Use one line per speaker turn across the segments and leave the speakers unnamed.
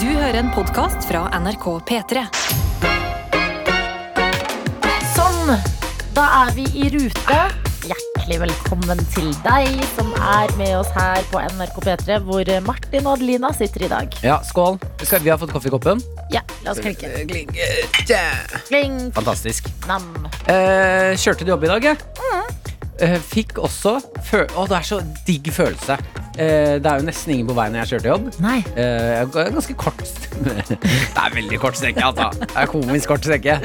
Du hører en podkast fra NRK P3.
Sånn, da er vi i rute. Hjertelig velkommen til deg som er med oss her på NRK P3, hvor Martin og Adelina sitter i dag.
Ja, skål. Skal, vi har fått kaffe i koppen.
Ja, la oss klinke. Klink,
Fantastisk.
nam.
Eh, kjørte til jobb i dag, jeg.
Mm.
Eh, fikk også fø Å, det er så digg følelse. Eh, det er jo nesten ingen på vei når jeg kjører til jobb.
Nei,
Eh, jeg har ganske kort stemme. Det er veldig kort strekke, altså. Det er komisk kort strekke.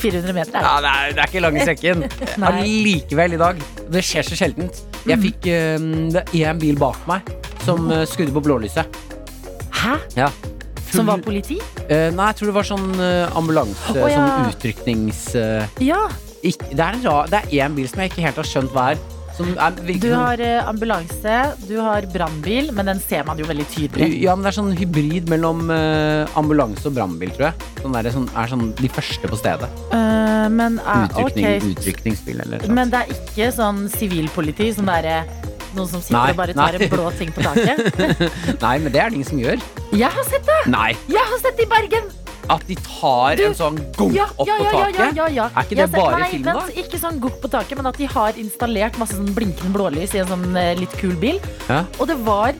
400 meter er
Ja, det, er, det er ikke lange strekken.
Nei. Mm.
Allikevel i dag. Det skjer så sjeldent. Jeg fikk eh, Det er én bil bak meg som eh, skrudde på blålyset.
det. Hæ?
Ja.
Som var politi?
Eh, nei, jeg tror det var sånn eh, ambulanse,
Å, ja.
sånn utryknings... eh,
Ja,
ikk- det, er en ra, det er én bil som jeg ikke helt har skjønt hva er. Som er virker
du
sånn-
har eh, ambulanse, du har brannbil, men den ser man jo veldig tydelig.
Ja, men det er sånn hybrid mellom eh, ambulanse og brannbil, tror jeg. Sånn er, det sånn, er sånn de første på stedet.
Eh, men, eh,
Utrykning,
ok.
Utrykningsbil eller noe.
men det er ikke sånn sivilpoliti som det er eh, noen som sitter
Nei,
og bare tar
nei.
en blå ting på taket?
Nei, men det er det ingen som gjør.
Jeg har sett det!
Nei,
Jeg har sett det i Bergen!
At de tar
Du-
en sånn gunk
Ja,
opp
ja,
på
ja, ja,
taket.
ja, ja, ja.
Er ikke
Jeg
det
ser-
bare i
nei,
film, da?
vent, Ikke sånn gokk på taket, men at de har installert masse sånn blinkende blålys i en sånn eh, litt kul bil.
Ja.
Og det var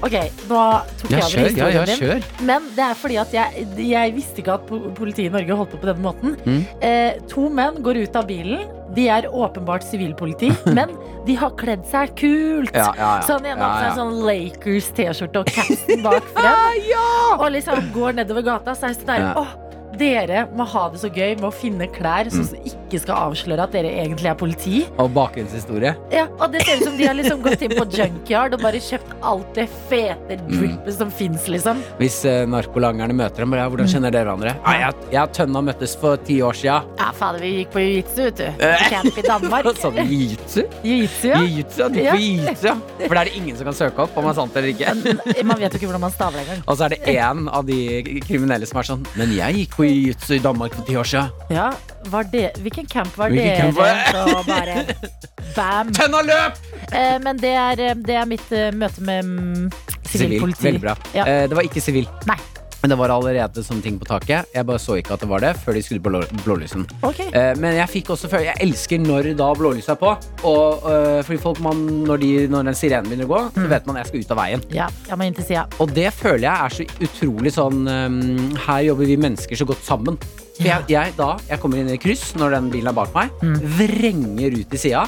Ok, nå tok jeg
Ja,
over
kjør. Ja,
historien
ja,
din.
kjør.
Men det er fordi at jeg, jeg visste ikke at po- politiet i Norge holdt på på denne måten.
Mm.
Eh, to menn går ut av bilen. De er åpenbart sivilpoliti, men de har kledd seg kult.
Ja, ja, ja.
Så han ene har på
Ja,
seg
ja.
en sånn Lakers-T-skjorte og capsen bak frem. Og liksom går nedover gata, så er det sånn der
Ja.
Åh, dere må ha det så gøy med å finne klær som
Mm.
ikke skal avsløre at dere egentlig er politi.
Og bakgrunnshistorie.
Ja, og det ser ut som de har liksom gått inn på junkyard og bare kjøpt alt det fete
Mm.
drippet som fins, liksom.
Hvis eh, narkolangerne møter dem, bare, ja, hvordan
Mm.
kjenner dere hverandre? Nei, jeg, jeg og Tønna møttes for ti år sia.
Ja, fader, vi gikk på jiu-jitsu, vet du. På Camp i Danmark.
Sånn jiu-jitsu?
Jiu-jitsu, ja.
Jiu-jitsu, ja. Du
Ja.
får jiu-jitsu, ja. For da er det ingen som kan søke opp om det er sant eller ikke.
Man vet jo ikke hvordan man staver det engang.
Og så er det én av de kriminelle som er sånn Men jeg gikk på jiu-jitsu i Danmark for ti år siden.
Ja, var det, hvilken camp var
Hvilken
dere?
camp var
Så bare bam.
Tønna løp!
Eh, men det er, eh, det er mitt eh, møte med mm, sivilpoliti.
Veldig bra.
Ja.
Eh, det var ikke sivil.
Nei.
Men det var allerede sånne ting på taket. Jeg bare så ikke at det var det før de skulle på blå- blålysen.
Ok.
Eh, men jeg fikk også føle Jeg elsker når da blålyset er på. Og, eh, fordi folk man, når, de, når den sirenen begynner å gå, så
Mm.
vet man jeg skal ut av veien.
Ja, jeg må inn til sida.
Og det føler jeg er så utrolig sånn um, Her jobber vi mennesker så godt sammen. For
Ja.
jeg, jeg, da, jeg kommer inn i kryss når den bilen er bak meg, vrenger ut i sida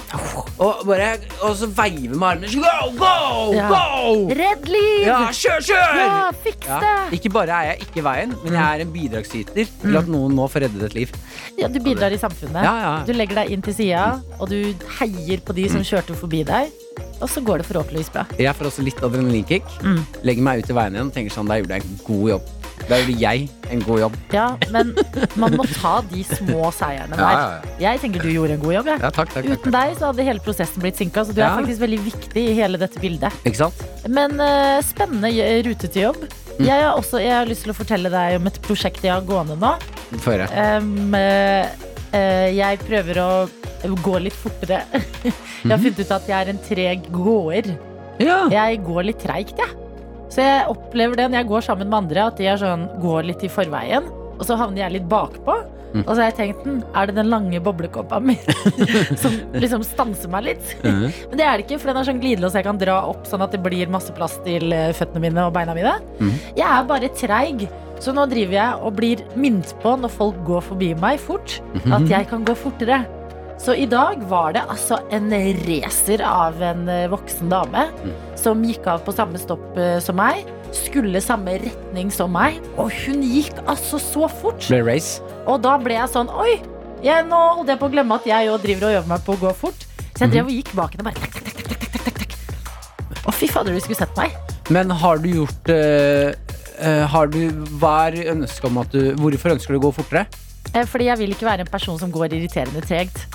og, bare- og så veiver med armene. Go, go,
Ja.
go!
Redd liv!
Oh. Ja, kjør, kjør!
Ja, fiks
Ja.
det!
Ikke bare er jeg ikke i veien, men jeg er en bidragsyter til at noen nå får reddet et liv.
Ja, du bidrar i samfunnet.
Ja, ja.
Du legger deg inn til sida, og du heier på de som kjørte forbi deg. Og så går det forhåpentligvis bra.
Jeg får også litt adrenalinkick.
Mm.
Legger meg ut i veien igjen og tenker sånn, da gjorde jeg en god jobb. Da gjorde jeg en god jobb.
Ja, men man må ta de små seierne
Ja,
der.
ja,
Jeg tenker du gjorde en god jobb. Jeg.
Ja, takk, takk, takk.
Uten deg så hadde hele prosessen blitt sinka, så du er
Ja.
faktisk veldig viktig i hele dette bildet.
Ikke sant?
Men eh, spennende j- rute til jobb. Jeg, har også, jeg har lyst til å fortelle deg om et prosjekt jeg har gående nå.
Få høre.
Em, eh, eh, jeg prøver å gå litt fortere. jeg har funnet ut at jeg er en treg gåer.
Ja.
Jeg går litt treigt, jeg. Så jeg opplever det når jeg går sammen med andre, at de er sånn, går litt i forveien. Og så havner jeg litt bakpå.
Mm.
Og så har jeg tenkt den, er det den lange boblekåpa mi som liksom stanser meg litt?
Mhm.
Men det er det ikke, for den er sånn glidelås jeg kan dra opp sånn at det blir masse plass til eh, føttene mine og beina mine.
Mhm.
Jeg er bare treig, så nå driver jeg og blir minnet på når folk går forbi meg fort, at jeg kan gå fortere. Så i dag var det altså en racer av en eh, voksen dame som gikk av på samme stopp eh, som meg. Skulle samme retning som meg, og hun gikk altså så fort.
Ble det race?
Og da ble jeg sånn Oi, jeg, nå holdt jeg på å glemme at jeg jo driver og øver meg på å gå fort. Så jeg drev og gikk bak henne bare tak, tak, tak, tak, tak, tak, tak, tak. Å, fy fader, du skulle sett meg.
Men har du gjort eh, eh, Har du Hva er ønsket om at du Hvorfor ønsker du å gå fortere?
Eh, Fordi jeg vil ikke være en person som går irriterende tregt.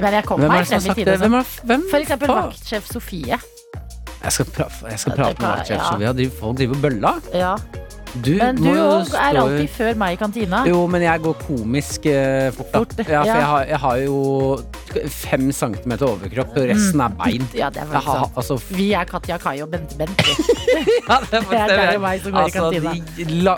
Men jeg kom
Hvem
meg
er det som har
frem i
sagt
tide.
det?
altså.
Hvem er, hvem?
For eksempel
faen?
vaktsjef Sofie.
Jeg skal, pra jeg skal prate med
Ja.
vaktsjef, så vi har driv folk driver bølla.
Ja.
Du,
Men du
må jo
òg
stå
er
i-
alltid før meg i kantina.
Jo, men jeg går komisk eh, fort, da.
Fort,
Ja, for
ja.
Jeg, har, jeg har jo fem centimeter overkropp, og
Mm.
resten er bein.
Ja, det er
Jeg
faktisk
har,
sant.
altså, f-
Vi er Katja, Kai og Bente Bent.
ja, det
liksom. Det er
stemmer.
deg og meg som går i
altså, de la,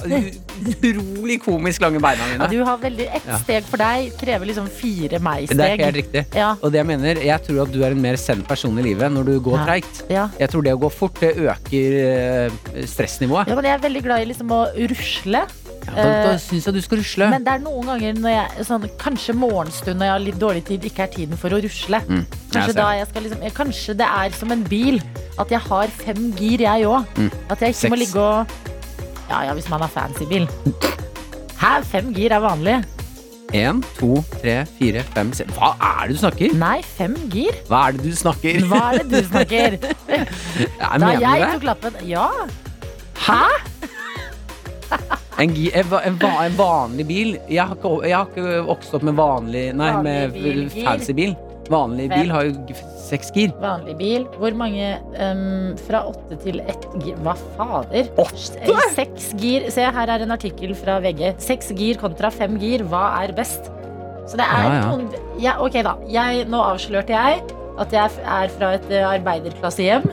utrolig komisk lange beina
Ja,
mine.
du har veldig Ett
Ja.
steg for deg krever liksom fire
Det er ikke
meg-steg.
helt riktig.
Ja.
Og det jeg mener, jeg tror at du er en mer send person i livet når du går
Ja.
treigt.
Ja.
Jeg tror det å gå fort, det øker eh, stressnivået.
ja, men jeg er veldig glad i liksom å rusle.
Ja, da da
Eh,
syns jeg du skal rusle.
Men det er noen ganger når jeg sånn, Kanskje morgenstund når jeg har litt dårlig tid, ikke er tiden for å rusle.
Mm, jeg
Kanskje,
ser.
da jeg skal liksom, eh, kanskje det er som en bil, at jeg har fem gir, jeg òg. At jeg ikke må
Mm. Seks.
ligge og Ja ja, hvis man har fancy bil. Hæ, fem gir er vanlig?
En, to, tre, fire, fem, seks Hva er det du snakker?
Nei, fem gir?
Hva er det du snakker?
Mm. Hva er det du snakker?
Jeg
Da
mener
jeg
det.
tok lappen Ja,
Hæ? En, gi- en, va- en, va- en vanlig bil jeg har, ikke, o- jeg har ikke vokst opp med vanlig Nei,
Vanlig
med
bil, gir.
fancy bil. Vanlig
Fem.
bil har jo g- seks gir.
vanlig bil. Hvor mange ehm, fra åtte til ett gir? Hva fader?
Åtte?
Eh, Seks gir. Se, her er en artikkel fra VG. Seks gir kontra fem gir. Hva er best? Så det er
Ja, ja.
noen ja, Ok, da. Jeg, nå avslørte jeg at jeg f- er fra et eh, arbeiderklassehjem.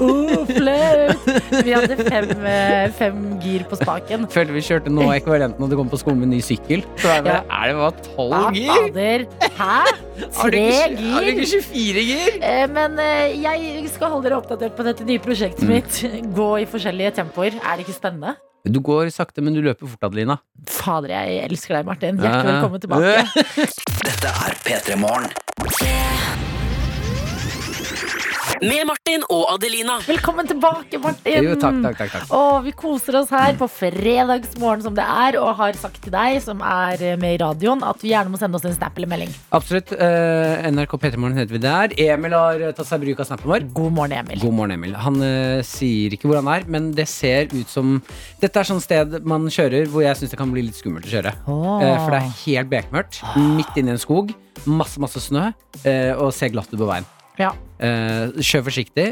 oh, flaut! Vi hadde fem, eh, fem gir på spaken.
Følte vi kjørte nå
Eh.
ekvivalenten når du kom på skolen med ny sykkel. Så er det, er det bare
Hva
tolv gir?
fader? Hæ?
Har du
Ah, Tre
ikke, tjue- har du
gir?
ikke 24 gir?
Eh, Men eh, jeg skal holde dere oppdatert på dette nye
Mm.
prosjektet mitt. Gå i forskjellige tempoer. Er det ikke spennende?
Du går sakte, men du løper fort, Adelina. Eh,
Fader, jeg elsker deg, Martin.
Ja,
Hjertelig
ja.
velkommen tilbake.
Dette er P3 Morgen.
Med Martin og Adelina.
Velkommen tilbake, Martin!
eh, Jo, takk, takk, takk, takk.
Og vi koser oss her på fredagsmorgen som det er, og har sagt til deg som er eh, med i radioen, at du gjerne må sende oss en snap eller melding.
Absolutt. eh, NRK P3morgen heter vi der. Emil har eh, tatt seg bruk av snappen vår.
God morgen, Emil.
God morgen, Emil. Han eh, sier ikke hvor han er, men det ser ut som Dette er sånn sted man kjører hvor jeg syns det kan bli litt skummelt å kjøre.
Åh.
Eh, for det er helt bekmørkt. Midt inne i en skog. Masse, masse snø. eh, og ser glatt ut på veien.
Ja,
Eh, kjør forsiktig.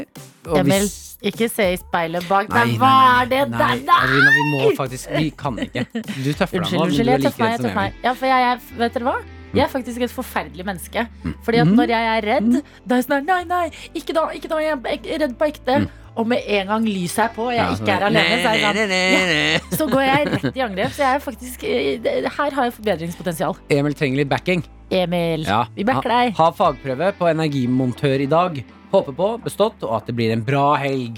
Og
Emil,
hvis-
ikke se i speilet bak
Nei,
deg.
nei,
Hva
nei,
er det
nei,
der? Nei!
Adelina, vi må faktisk Vi kan ikke. Du
Unnskyld,
tøffer deg nå. men
unnskyld.
du er
Jeg
like
tøffer meg. Jeg
redd som
tøffer
Mm. Emil.
meg. Ja, for jeg er, vet dere hva? Jeg er faktisk et forferdelig menneske.
Mm.
Fordi at når jeg er redd, da er jeg sånn her, Nei, nei, ikke da, ikke da. Jeg er ek- redd på ekte. Og med en gang lyset er på, og
Mm. Ja,
jeg
sånn
ikke er
der.
alene, så er jeg sånn
Nei, nei, nei, nei.
så går jeg rett i angrep. Så jeg er faktisk, eh, det- her har jeg forbedringspotensial.
Emil trenger litt backing.
Emil,
Ja.
vi backer deg.
Ha, ha fagprøve på energimontør i dag. Håper på bestått, og at det blir en bra helg.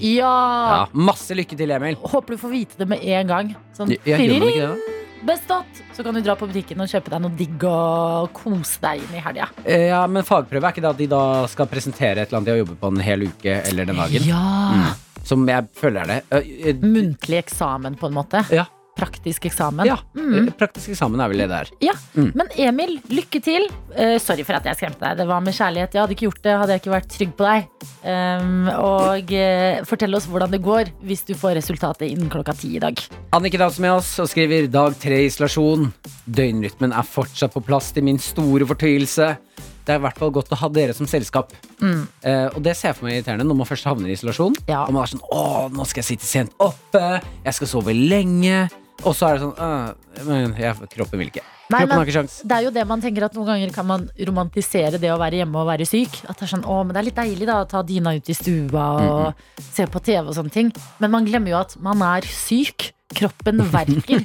Ja.
Ja, masse lykke til, Emil.
Håper du får vite det med en gang. Sånn,
Ja, gjør man ikke det da?
bestått! Så kan du dra på butikken og kjøpe deg noe digg og kose deg inn i helga.
Eh, Ja, men fagprøve er ikke det at de da skal presentere et eller annet de har jobbet på en hel uke eller den dagen? Mm.
Ja. Mm.
Som jeg føler er det. Eh, eh,
Muntlig eksamen, på en måte.
Ja.
Praktisk eksamen.
ja.
Mm.
eh, Praktisk eksamen er vel det der.
Ja,
Mm.
Men Emil, lykke til. Eh, sorry for at jeg skremte deg. Det var med kjærlighet. Jeg hadde ikke gjort det, hadde jeg ikke vært trygg på deg. Um, og eh, fortell oss hvordan det går hvis du får resultatet innen klokka ti i dag.
Anniken Dahl som er med oss og skriver dag tre i isolasjon. Døgnrytmen er fortsatt på plass til min store fortøyelse. Det er i hvert fall godt å ha dere som selskap. Eh, og det ser jeg for meg irriterende når man først havner i isolasjon.
Mm. Ja.
Og man er sånn Å, nå skal jeg sitte sent oppe. Jeg skal sove lenge. Og så er det sånn «Åh, Men jeg, kroppen vil ikke.
Nei,
kroppen
men-
har ikke sjans.
Det er jo det man tenker at Noen ganger kan man romantisere det å være hjemme og være syk. At det er sånn, å, men det er litt deilig da å ta dyna ut i stua og
Mm,
se på TV og sånne ting. Men man glemmer jo at man er syk. Kroppen verker.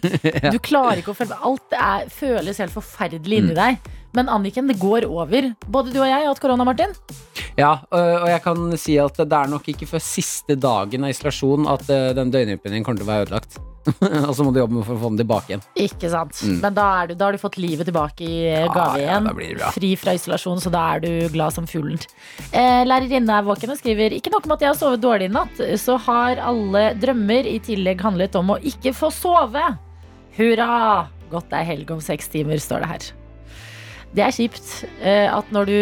Du klarer ikke å føle Alt er, føles helt forferdelig
Mm.
inni deg. Men Anniken, det går over. Både du og jeg har hatt korona, Martin.
Ja, øh, og jeg kan si at det er nok ikke før siste dagen av isolasjon at øh, den døgnrytmen din kommer til å være ødelagt. og så må du jobbe for å få den tilbake igjen.
Ikke sant. Men da, er du, da har du fått livet tilbake i eh, gave
Mm. ja,
igjen.
da blir det bra.
Fri fra isolasjon, så da er du glad som fuglen. Eh, Lærerinne er våken og skriver ikke nok med at jeg har sovet dårlig i natt, så har alle drømmer i tillegg handlet om å ikke få sove. Hurra! Godt det er helg om seks timer, står det her. Det er kjipt eh, at når du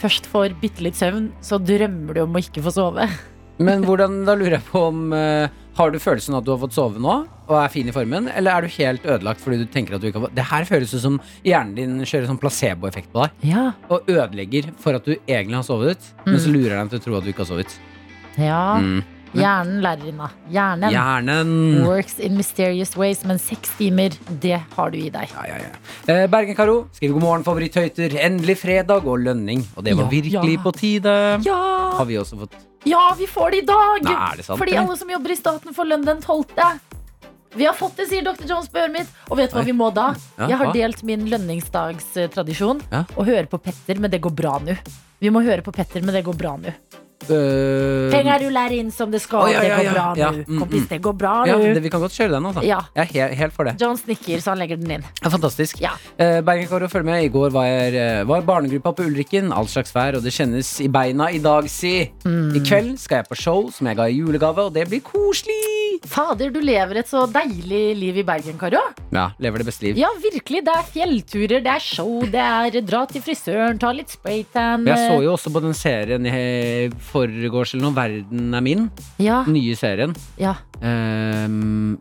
først får bitte litt søvn, så drømmer du om å ikke få sove.
Men hvordan, da lurer jeg på om eh, Har du følelsen at du har fått sove nå og er fin i formen, eller er du helt ødelagt fordi du tenker at du ikke har fått Det her føles ut som hjernen din kjører sånn placeboeffekt på deg
Ja,
og
Mm.
ødelegger for at du egentlig har sovet, men så lurer den til å tro at du ikke har sovet.
ja.
Mm.
Hjernen, lærerinna. Hjernen
Hjernen.
works in mysterious ways, men seks timer, det har du i deg.
Ja, ja, ja. Eh, Bergen-Karo skriver god morgen, favoritthøyter. Endelig fredag og lønning. Og det var
Ja,
virkelig
ja.
på tide.
Ja,
Har vi også fått
ja vi får det i dag!
Nei, er det sant,
Fordi
eller?
alle som jobber i staten, får lønn den 12. Vi har fått det, sier dr. Jones på øret mitt. Og vet du hva
Oi.
vi må da?
Ja,
Jeg har
hva?
delt min lønningsdagstradisjon
Ja.
og høre på Petter, men det går bra nå. Vi må høre på Petter, men det går bra nå.
Um, øh,
Penger ruller inn som det skal,
Å, ja, ja,
det
ja.
går bra
Ja,
nå.
mm,
Kompis,
mm.
det går bra
ja, det,
nå.
Vi kan godt kjøre den, altså.
Ja.
Jeg er helt, helt for det.
John snikker, så han legger den inn.
Ja, fantastisk.
Ja.
Eh, Bergen-Karo, følg med. I går var, jeg, eh, var barnegruppa på Ulrikken. All slags vær, og det kjennes i beina i dag, si.
Mm.
I kveld skal jeg på show som jeg ga i julegave, og det blir koselig.
Fader, du lever et så deilig liv i Bergen, Karo.
Ja, lever det beste liv.
Ja, virkelig. Det er fjellturer, det er show, det er dra til frisøren, ta litt spraytan.
Jeg så jo også på den serien i forgårs eller noe, Verden er min.
eh, Ja,
Den nye serien.
ja.
Ehm,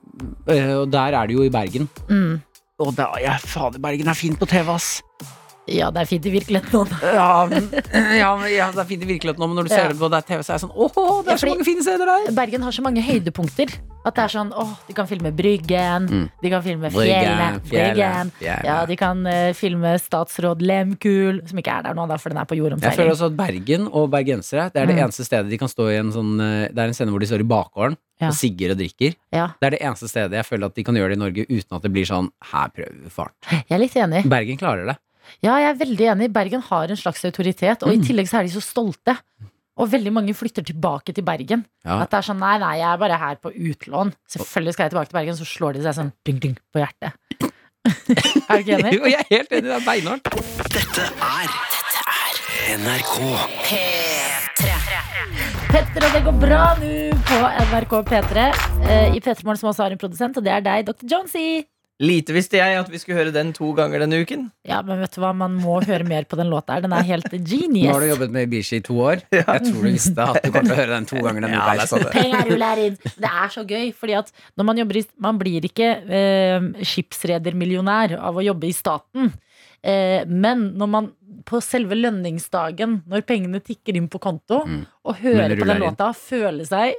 øh, og der er det jo i Bergen.
Mm.
Og da, ja, fader, Bergen er fint på TV, ass.
ja det er fint i virkeligheten. også.
Ja, men, ja, men, ja, det er fint i virkeligheten nå, men når du ser
Ja.
det på det er TV, så er jeg sånn åh, det
Ja,
er så
fordi-
mange fine steder der.
Bergen har så mange høydepunkter. At det er sånn, åh, de kan filme Bryggen,
Mm.
de kan filme
Bryggen,
fjellet,
fjellet,
Bryggen.
fjellet.
Ja, de kan eh, filme statsråd Lemkul, som ikke er der nå, da, for den er på
Jeg føler
jordomseiling.
også at Bergen og bergensere Det er
Mm.
det eneste stedet de kan stå i en sånn eh, Det er en scene hvor de står i bakgården
Ja.
og sigger og drikker.
Ja,
Det er det eneste stedet jeg føler at de kan gjøre det i Norge uten at det blir sånn her prøver vi fart.
jeg er litt enig.
Bergen klarer det.
Ja, jeg er veldig enig. Bergen har en slags autoritet, og i
Mm.
tillegg så er de så stolte. Og veldig mange flytter tilbake til Bergen.
Ja.
At det er sånn, nei, nei, jeg er bare her på utlån. Selvfølgelig skal jeg tilbake til Bergen, så slår de seg sånn ding, ding, på hjertet. er du ikke enig?
Jo, jeg er helt enig, det er beinhardt.
Dette er NRK.
Petter, og det går bra nå på NRK P3. Eh, I P3 Morgen som også har en produsent, og det er deg, Dr. Jonesy.
Lite visste jeg at vi skulle høre den to ganger denne uken.
Ja, men vet du hva, man må høre mer på den låta her. Den er helt
Nå har du
genius.
jobbet med Ibishi i to år. Jeg tror du visste at du kommer til å høre den to ganger. denne uka her.
Penger ruller inn. Det er så gøy, fordi at når man jobber i Man blir ikke eh, skipsredermillionær av å jobbe i staten. Eh, men når man på selve lønningsdagen, når pengene tikker inn på konto,
Mm.
og hører
Når det
på den
ruller inn.
låta, føle seg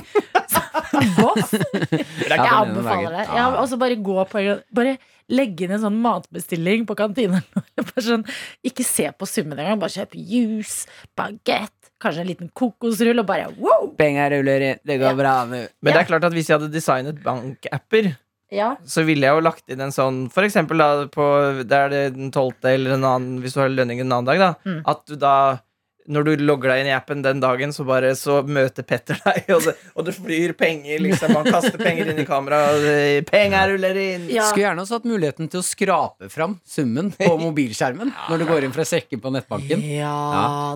som en boss Jeg
Ja, den ene dagen.
anbefaler det. Ja, og så bare gå på Bare legge inn en sånn matbestilling på kantina. Bare sånn, ikke se på summen engang. Bare kjøp juice, bagett, kanskje en liten kokosrull, og bare wow!
Penger ruller inn, det går bra nå.
Ja.
Men det er klart at hvis jeg hadde designet bankapper,
Ja.
så ville jeg jo lagt inn en sånn For eksempel da på Det er det den tolvte eller en annen Hvis du har lønning en annen dag, da.
Mm.
At du da når du logger deg inn i appen den dagen, så bare så møter Petter deg, og det, og det flyr penger, liksom. Han kaster penger inn i kameraet, og det- penger ruller inn.
Ja.
Skulle gjerne også hatt muligheten til å skrape fram summen på mobilskjermen når du går inn fra sekken på nettbanken.
Ja,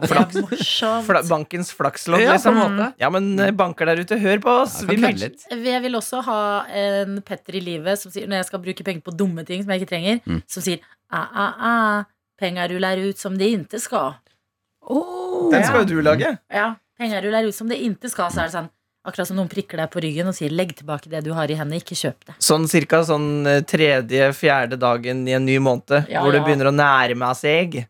det er morsomt.
Fla, bankens flakslodd,
Ja, på en
liksom.
måte.
Ja, men eh, banker der ute, hør på oss.
Ja,
Vi
kan kødde
matcher.
litt.
Jeg vil også ha en Petter i livet som sier, når jeg skal bruke penger på dumme ting som jeg ikke trenger,
Mm.
som sier æ, æ, æ, penger ruller ut som de inte skal.
Den skal jo du lage.
Ja, penger ruller ut som det inte skal, så er det sånn. Akkurat som noen prikker deg på ryggen og sier 'legg tilbake det du har i hendene, ikke kjøp det'.
Sånn cirka sånn eh, tredje, fjerde dagen i en ny måned,
Ja,
hvor det
ja.
begynner å nærme seg.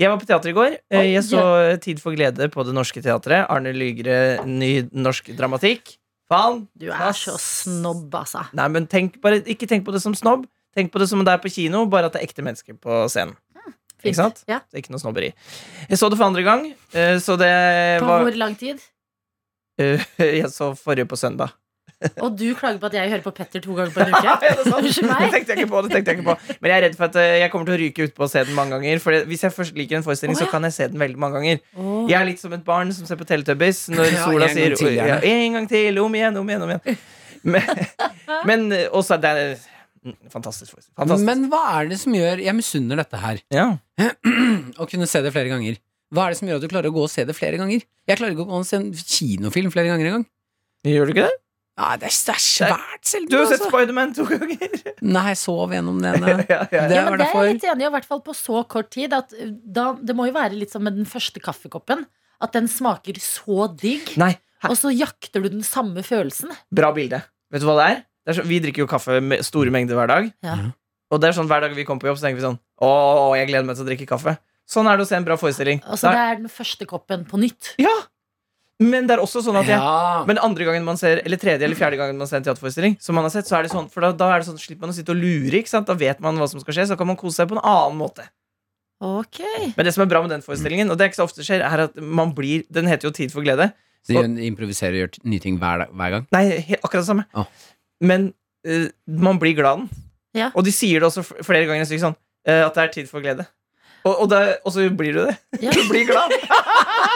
Jeg var på teater i går. Eh,
Oi.
Jeg så Tid for glede på Det Norske Teatret. Arne Lygre, ny norsk dramatikk. Faen!
Du er så snobb, altså.
Nei, men tenk bare, ikke tenk på det som snobb. Tenk på det som det er på kino, bare at det er ekte mennesker på scenen.
Ah,
Ikke sant?
Ja.
Det er ikke noe snobberi. Jeg så det for andre gang, eh, så det
På
var
hvor lang tid?
Jeg så forrige på søndag.
Og du klager på at jeg hører på Petter to ganger på en
Ja,
uke?
er det sant?
Unnskyld
Det
meg.
tenkte jeg ikke på. det tenkte jeg ikke på Men jeg er redd for at eh, jeg kommer til å ryke utpå og se den mange ganger. For hvis jeg først liker en forestilling,
Å, ja.
så kan jeg se den veldig mange ganger.
Åh.
Jeg er litt som et barn som ser på Teletubbies når
Ja,
sola
en gang
sier
til,
ja,
gjerne.
En gang til! Om igjen, om igjen, om igjen. Men, men eh, også er det mm, Fantastisk forestilling. Fantastisk.
Men hva er det som gjør Jeg misunner dette her.
ja.
Å kunne se det flere ganger. Hva er det som gjør at du klarer å gå og se det flere ganger? Jeg klarer ikke å gå og se en kinofilm flere ganger engang.
Gjør du ikke det?
Ja, det er det er svært sjelden.
Du har sett
altså.
Spiderman to ganger.
Nei, jeg sov gjennom det ene.
Ja, ja,
Det
Ja, men det
var
er
derfor.
jeg litt enig i, og i hvert fall på så kort tid. At uh, da, det må jo være litt som med den første kaffekoppen. At den smaker så digg,
Nei, hæ?
og så jakter du den samme følelsen.
bra bilde. Vet du hva det er? Det er så, vi drikker jo kaffe med store mengder hver dag.
Ja.
Og det er sånn hver dag vi kommer på jobb, så tenker vi sånn Å, jeg gleder meg til å drikke kaffe. Sånn er det å se en bra forestilling.
Altså,
Da-
det er den første koppen på nytt.
Ja! Men det er også sånn at jeg
Ja.
Men andre gangen man ser, eller tredje eller fjerde gangen man ser en teaterforestilling, som man har sett, så er det sånn, for da, da er det sånn, slipper man å sitte og lure. ikke sant? Da vet man hva som skal skje, så kan man kose seg på en annen måte.
Ok.
Men det som er bra med den forestillingen, og det er ikke så ofte skjer, er at man blir Den heter jo Tid for glede.
Så hun improviserer og gjør t- nye ting hver, dag- hver gang.
Nei, he- akkurat det samme.
Ah.
Men eh, man blir glad av den.
Ja.
Og de sier det også f- flere ganger i stykket sånn eh, at det er tid for glede. Og, og, da, og så blir du det.
Ja.
Du blir glad.
Og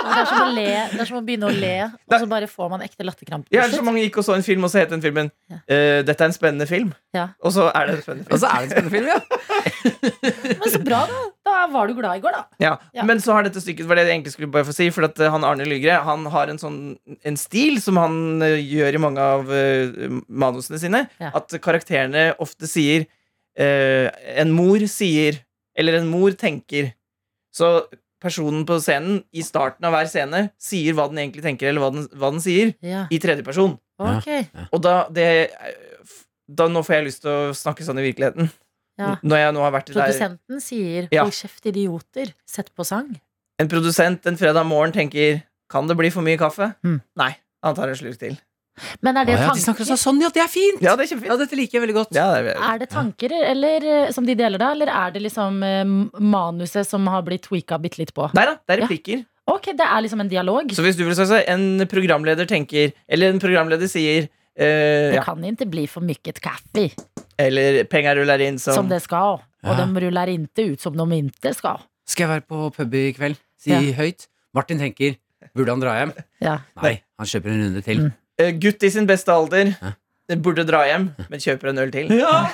Det, er som å le, det er som å begynne å le, og så bare får man ekte latterkrampe.
Ja, så mange gikk og så en film, og så het den filmen
Ja.
eh, 'Dette er en spennende film'.
Ja.
Og så er det en spennende film.
Og så er det en spennende film, ja!
Men så bra, da. Da var du glad i går, da.
Ja,
Ja.
Men så har dette stykket var det jeg egentlig skulle bare få si For at eh, han Arne Lygre Han har en sånn en stil som han eh, gjør i mange av eh, manusene sine.
Ja.
At karakterene ofte sier eh, En mor sier Eller en mor tenker. Så personen på scenen i starten av hver scene sier hva den egentlig tenker, eller hva den, hva den sier,
Ja.
i tredjeperson.
Ok.
Og da det eh, f- da, Nå får jeg lyst til å snakke sånn i virkeligheten.
Ja.
N- Når jeg nå har vært i der
Produsenten sier
Ja.
'hold kjeft, idioter', sett på sang.
En produsent en fredag morgen tenker Kan det bli for mye kaffe?
Mm.
Nei, han tar en slurk til.
Men er det
Å, ja de snakker
tanker?
sånn, sånn, ja, det er fint!
Ja, det er kjempefint.
Ja, dette liker jeg veldig godt.
Ja, det er,
Er det tanker eller, eh, som de deler, da? Eller er det liksom eh, manuset som har blitt tweaka bitte litt på?
Nei da, det er
Ja.
replikker.
Ok, det er liksom en dialog.
Så hvis du vil si så, en programleder tenker Eller en programleder sier eh,
Det
ja,
kan ikke bli for mycket kaffe,
Eller penga ruller inn som,
som det skal. Og
Ja.
de ruller ikke ut som de ikke skal.
Skal jeg være på pub i kveld? Si
Ja.
høyt. Martin tenker Burde han dra hjem?
Ja.
Nei, han kjøper en runde til.
eh, Gutt i sin beste alder. eh,
Hæ?
Burde dra hjem, men kjøper en øl til.
Ja,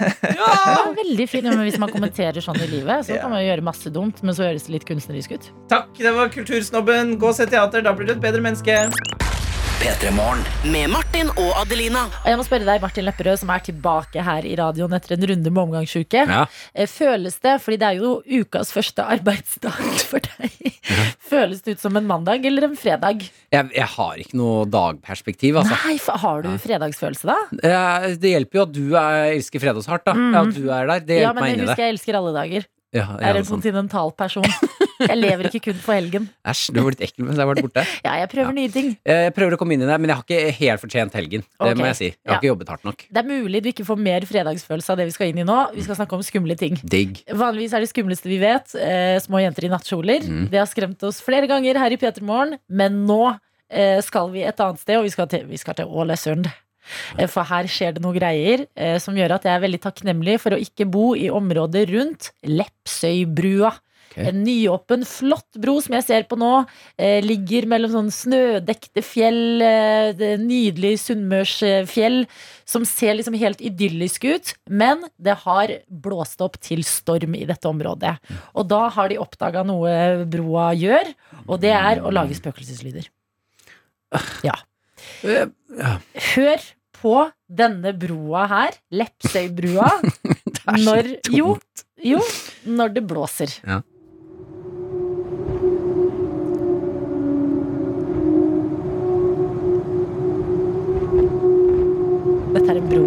veldig fint. Men hvis man kommenterer sånn i livet, så kan man jo gjøre masse dumt, men så høres det litt kunstnerisk ut.
Takk, det var Kultursnobben. Gå og se teater, da blir du et bedre menneske.
Med Martin og Adelina.
Og jeg må spørre deg, Martin Lepperød, som er tilbake her i radioen etter en runde med omgangsuke.
Ja.
Eh, Føles det, fordi det er jo ukas første arbeidsdag for deg, føles det ut som en mandag eller en fredag?
Jeg, jeg har ikke noe dagperspektiv, altså.
Nei, fa- har du fredagsfølelse da?
Eh, Det hjelper jo at du er, elsker fredagshardt, da. Ja, at du er der. Det
Mm.
hjelper
Ja, men
meg
jeg
inn i det.
husker jeg elsker alle dager.
Ja,
Jeg er
ja,
en
sånn.
kontinental person. Jeg lever ikke kun for helgen.
Æsj, du var litt ekkel mens jeg var borte.
Ja, jeg prøver nye ting.
Eh, Jeg prøver å komme inn i det, men jeg har ikke helt fortjent helgen. Det
Ok,
må jeg si. Jeg har
ja.
ikke jobbet hardt nok.
Det er mulig du ikke får mer fredagsfølelse av det vi skal inn i nå. Vi skal snakke om skumle ting.
Digg.
Vanligvis er det skumleste vi vet, eh, små jenter i nattkjoler.
Mm.
Det har skremt oss flere ganger her i P3morgen, men nå eh, skal vi et annet sted, og vi skal til, vi skal til Ålesund. Eh, For her skjer det noen greier eh, som gjør at jeg er veldig takknemlig for å ikke bo i området rundt Lepsøybrua.
Ok.
En nyåpen, flott bro som jeg ser på nå. Eh, ligger mellom sånn snødekte fjell, eh, det nydelig sunnmørsfjell, som ser liksom helt idyllisk ut. Men det har blåst opp til storm i dette området. Og da har de oppdaga noe broa gjør, og det er å lage spøkelseslyder.
Eh,
Hør på denne broa her, Lepsøybrua,
Det er så
når Jo,
dumt.
jo, når det blåser.
Ja.
Dette er en bro.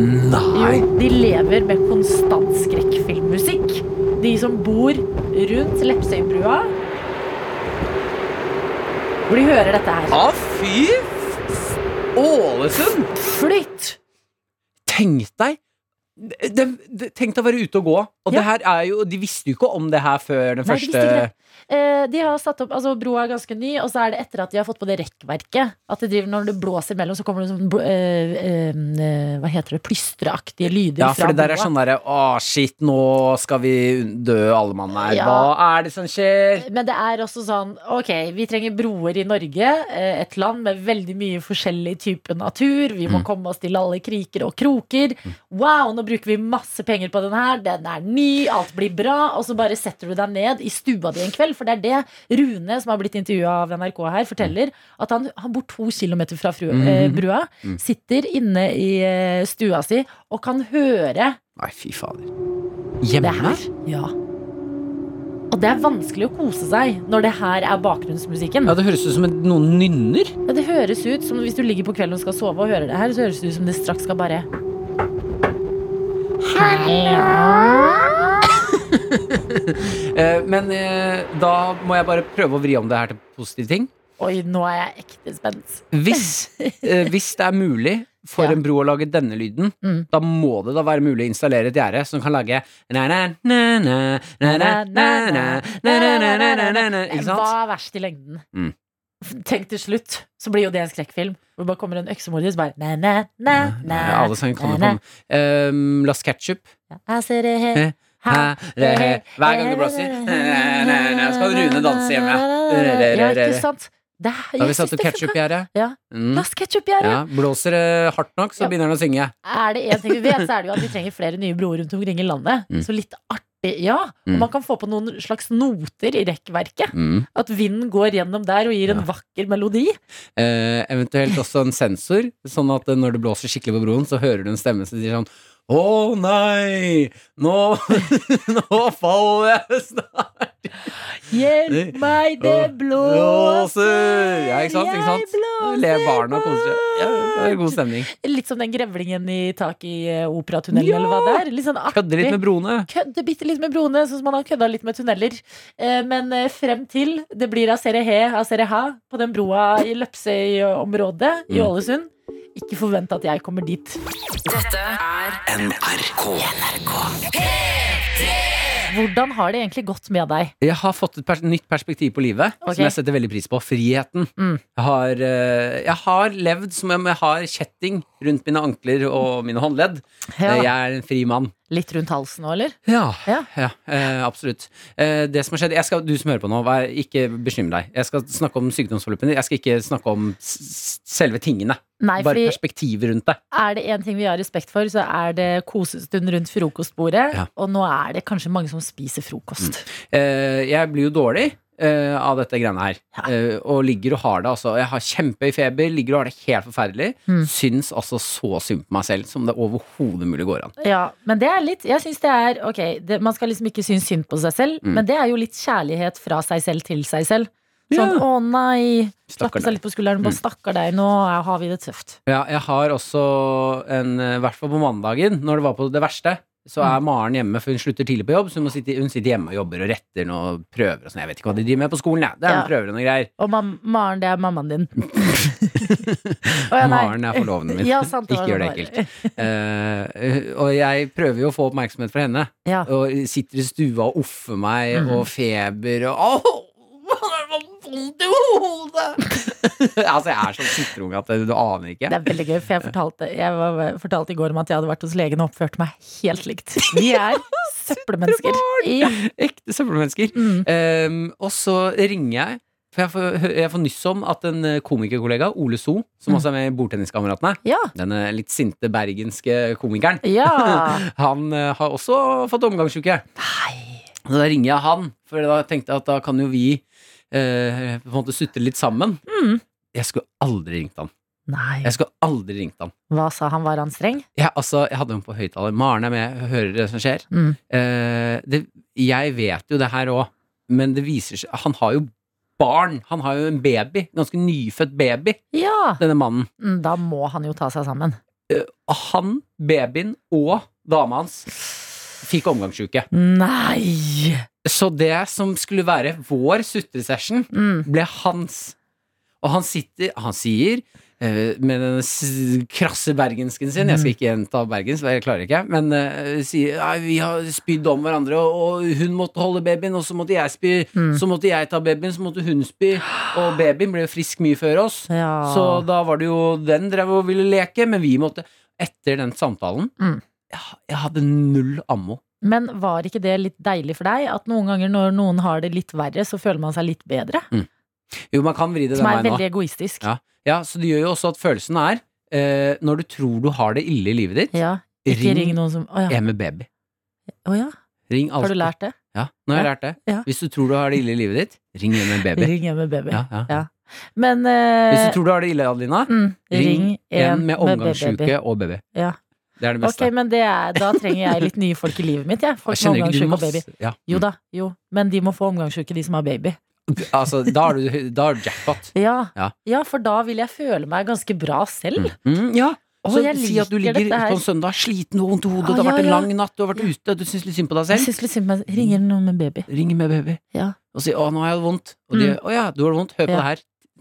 Nei!
Jo, de lever med konstant skrekkfilmmusikk. De som bor rundt Lepsøybrua. Hvor de hører dette her.
Å, fy f- f- Ålesund!
Flytt!
Tenk deg de, de, Tenk deg å være ute og gå. Og
Ja.
det her er jo, de visste jo ikke om det her før
Nei,
den
de visste
første
ikke det. Eh, de har satt opp, altså Broa er ganske ny, og så er det etter at de har fått på det rekkverket. At det driver, Når det blåser imellom, så kommer det sånn bl- eh, eh, eh, Hva heter det? plystreaktige lyder.
Ja,
fra
for det der er
broa.
sånn derre Å, shit, nå skal vi dø, alle mann her.
Ja.
Hva er det som skjer?
Men det er også sånn Ok, vi trenger broer i Norge. eh, Et land med veldig mye forskjellig type natur. Vi må komme oss til alle kriker og kroker. Wow, nå bruker vi masse penger på den her. Den er ny, alt blir bra. Og så bare setter du deg ned i stua di en kveld. For det er det Rune, som har blitt intervjua av NRK her, forteller. At han, han bor to kilometer fra fru, eh, brua. Sitter inne i eh, stua si og kan høre
Nei, fy fader.
det
Hjemme?
her. Ja. Og det er vanskelig å kose seg når det her er bakgrunnsmusikken.
Ja, det høres ut som en- noen nynner.
Ja, det høres ut som hvis du ligger på kvelden og skal sove og hører det her, så høres det ut som det straks skal bare
Eh, Eh, Men eh, da må jeg bare prøve å vri om det her til positive ting.
Oi, nå er jeg ekte spent.
Hvis, eh, hvis det er mulig for
Ja.
en bro å lage denne lyden,
Mm.
da må det da være mulig å installere et gjerde som kan lage na-na, na-na, na-na, na-na, na-na, na-na, na-na,
Hva
Ikke sant?
er verst i lengden?
Mm.
Tenk til slutt, så blir jo det en skrekkfilm. Hvor det bare kommer en øksemorder som bare na, na, na, na,
Ja, Alle sanger kan jo
na, na.
komme. Um, Last Ketchup.
Jeg ser det her.
Hæ?
Her.
Hver gang du blåser, na, na, na, skal Rune danse hjemme.
Ja, ikke sant? Det er,
Da har vi
jeg synes
satt opp
det funker.
ketsjupgjerdet.
Ja.
Mm.
La oss ketchup-gjerde.
Ja, blåser det hardt nok, så
Ja.
begynner den å synge.
Er det en ting vi vet, så er det jo at vi trenger flere nye broer rundt omkring i landet.
Mm.
Så litt artig, ja. Og
Mm.
man kan få på noen slags noter i rekkverket.
Mm.
At vinden går gjennom der og gir en
Ja.
vakker melodi.
Eh, eventuelt også en sensor, sånn at eh, når det blåser skikkelig på broen, så hører du en stemme som sier sånn Å nei, nå, nå faller jeg snart.
Hjelp meg, det
Åh,
blåser!
Ja, ikke sant? Ikke sant? Da Ler barna og koser seg. Ja, det er god stemning.
Litt som den grevlingen i taket i eh, operatunnelen,
Ja!
eller hva det er. Litt sånn artig.
Kødder litt med broene.
Kødde bitte litt med broene, sånn som man har kødda litt med tunneler. Eh, Men eh, frem til det blir Asere He, Asere Ha på den broa i Løpsøy-området i
Mm.
Ålesund. Ikke forvent at jeg kommer dit.
NRK.
Hvordan har det egentlig gått med deg?
Jeg har fått et pers nytt perspektiv på livet
Ok.
som jeg setter veldig pris på. Friheten.
Mm.
Jeg, har, eh, jeg har levd som om jeg har kjetting rundt mine ankler og mine håndledd. Eh, Jeg er en fri mann.
Litt rundt halsen nå, eller?
Ja,
Ja.
eh, absolutt. Eh, det som har skjedd jeg skal, Du som hører på nå, vær, ikke bekymre deg. Jeg skal snakke om sykdomsforløpene. Jeg skal ikke snakke om s s- selve tingene.
Nei,
Bare
fordi
perspektivet rundt det.
er det én ting vi har respekt for, så er det kosestund rundt frokostbordet.
Ja.
Og nå er det kanskje mange som spiser frokost.
Eh, jeg blir jo dårlig eh, av dette greiene her.
Ja.
Eh, og ligger og har det altså. Jeg har kjempehøy feber, ligger og har det helt forferdelig.
Mm.
Syns altså så synd på meg selv som det overhodet mulig går an.
Ja, men det er litt Jeg synes det er Ok, det, man skal liksom ikke synes synd på seg selv,
Mm.
men det er jo litt kjærlighet fra seg selv til seg selv. Sånn
Ja.
'å nei', klappe
Stakkar
seg
deg. Mm.
litt på skulderen. Bare 'stakkar deg, nå har vi det tøft'.
Ja, jeg har også en eh, I hvert fall på mandagen, når det var på det verste, så
Mm.
er Maren hjemme, for hun slutter tidlig på jobb. Så hun, må sitte, hun sitter hjemme og jobber og retter noen prøver og sånn. Jeg vet ikke hva de driver med på skolen, jeg. Det er
Ja.
noen prøver og noen greier.
Og mam Maren, det er mammaen din. Å, ja, nei.
Maren er forloveden min.
Ja, sant, det
Ikke
var
gjør det
Maren.
ekkelt. Eh, og jeg prøver jo å få oppmerksomhet fra henne.
Ja.
Og sitter i stua og offer meg,
Mm.
og feber og Åh! Vondt i hodet! altså, jeg er sånn sutreunge at du aner ikke.
Det er veldig gøy, for jeg fortalte, jeg var, fortalte i går om at jeg hadde vært hos legen og oppført meg helt likt. Vi er søppelmennesker. Ja.
Ekte søppelmennesker.
Mm.
Ehm, og så ringer jeg, for jeg får, hø- jeg får nyss om at en eh, komikerkollega, Ole So, som
Mm.
også er med i Bordtenniskameratene,
Ja.
denne litt sinte bergenske komikeren,
ja.
han eh, har også fått omgangsuke.
Nei.
Så da ringer jeg han, for da tenkte jeg at da kan jo vi eh, på en måte sutte litt sammen.
Mm.
Jeg skulle aldri ringt han.
Nei.
Jeg skulle aldri ringt han.
Hva sa han, var han streng?
Jeg, altså, jeg hadde henne på høyttaler. Maren er med, hører det som skjer.
Mm.
Eh, det, jeg vet jo det her òg, men det viser seg Han har jo barn. Han har jo en baby. Ganske nyfødt baby,
Ja.
denne mannen.
Mm, Da må han jo ta seg sammen.
Han, babyen og dama hans fikk omgangsuke.
Nei!
Så det som skulle være vår sutresession,
Mm.
ble hans. Og han sitter Han sier eh, med den s- krasse bergensken sin
Mm.
Jeg skal ikke gjenta bergens, for jeg klarer ikke. Men eh, sier Nei, vi har spydd om hverandre, og, og hun måtte holde babyen, og så måtte jeg spy.
Mm.
Så måtte jeg ta babyen, så måtte hun spy. Og babyen ble jo frisk mye før oss.
Ja.
Så da var det jo den drev og ville leke, men vi måtte Etter den samtalen
Mm.
jeg, jeg hadde null ammo.
Men var ikke det litt deilig for deg? At noen ganger når noen har det litt verre, så føler man seg litt bedre?
Jo, man kan vri det den
Som er
veien nå.
veldig egoistisk.
Ja. Ja, så det gjør jo også at følelsen er eh, Når du tror du har det ille i livet ditt,
Ja. Ikke ring noen som Å
Jeg
ja.
er med baby.
Å ja.
Ring
Har
alltid.
du lært det?
Ja, nå har jeg
Ja.
lært det.
Ja.
Hvis du tror du har det ille i livet ditt, ring hjem med baby.
Ring hjem med baby.
Ja, ja.
Ja. Men
Hvis
eh,
du tror du har det ille, Adelina,
mm,
ring
ring
en med
baby.
omgangssjuke og baby.
Ja.
Det er det
Ok,
beste.
men det er, da trenger jeg litt nye folk i livet mitt, jeg. Folk med
Kjenner ikke du
omgangssjuke og
masse-
baby.
Ja.
Jo da, jo. Men de må få omgangssjuke, de som har baby.
Altså, da har du, da har du jackpot.
Ja.
Ja.
ja, for da vil jeg føle meg ganske bra selv.
Mm. Mm, ja.
Å,
Så
jeg
si at du
liker
ligger sånn
dette her.
på en søndag sliten og vondt i hodet,
Ah,
det har
ja,
vært en
ja.
lang natt, du har vært ute, du syns litt synd på deg
Jeg
selv.
syns litt synd på meg. Ringer noen med baby.
Ring med baby
Ja.
og si 'Å, nå har jeg det vondt'. Og de
Mm.
'Å ja, du har det vondt'. Hør på
Ja.
det her.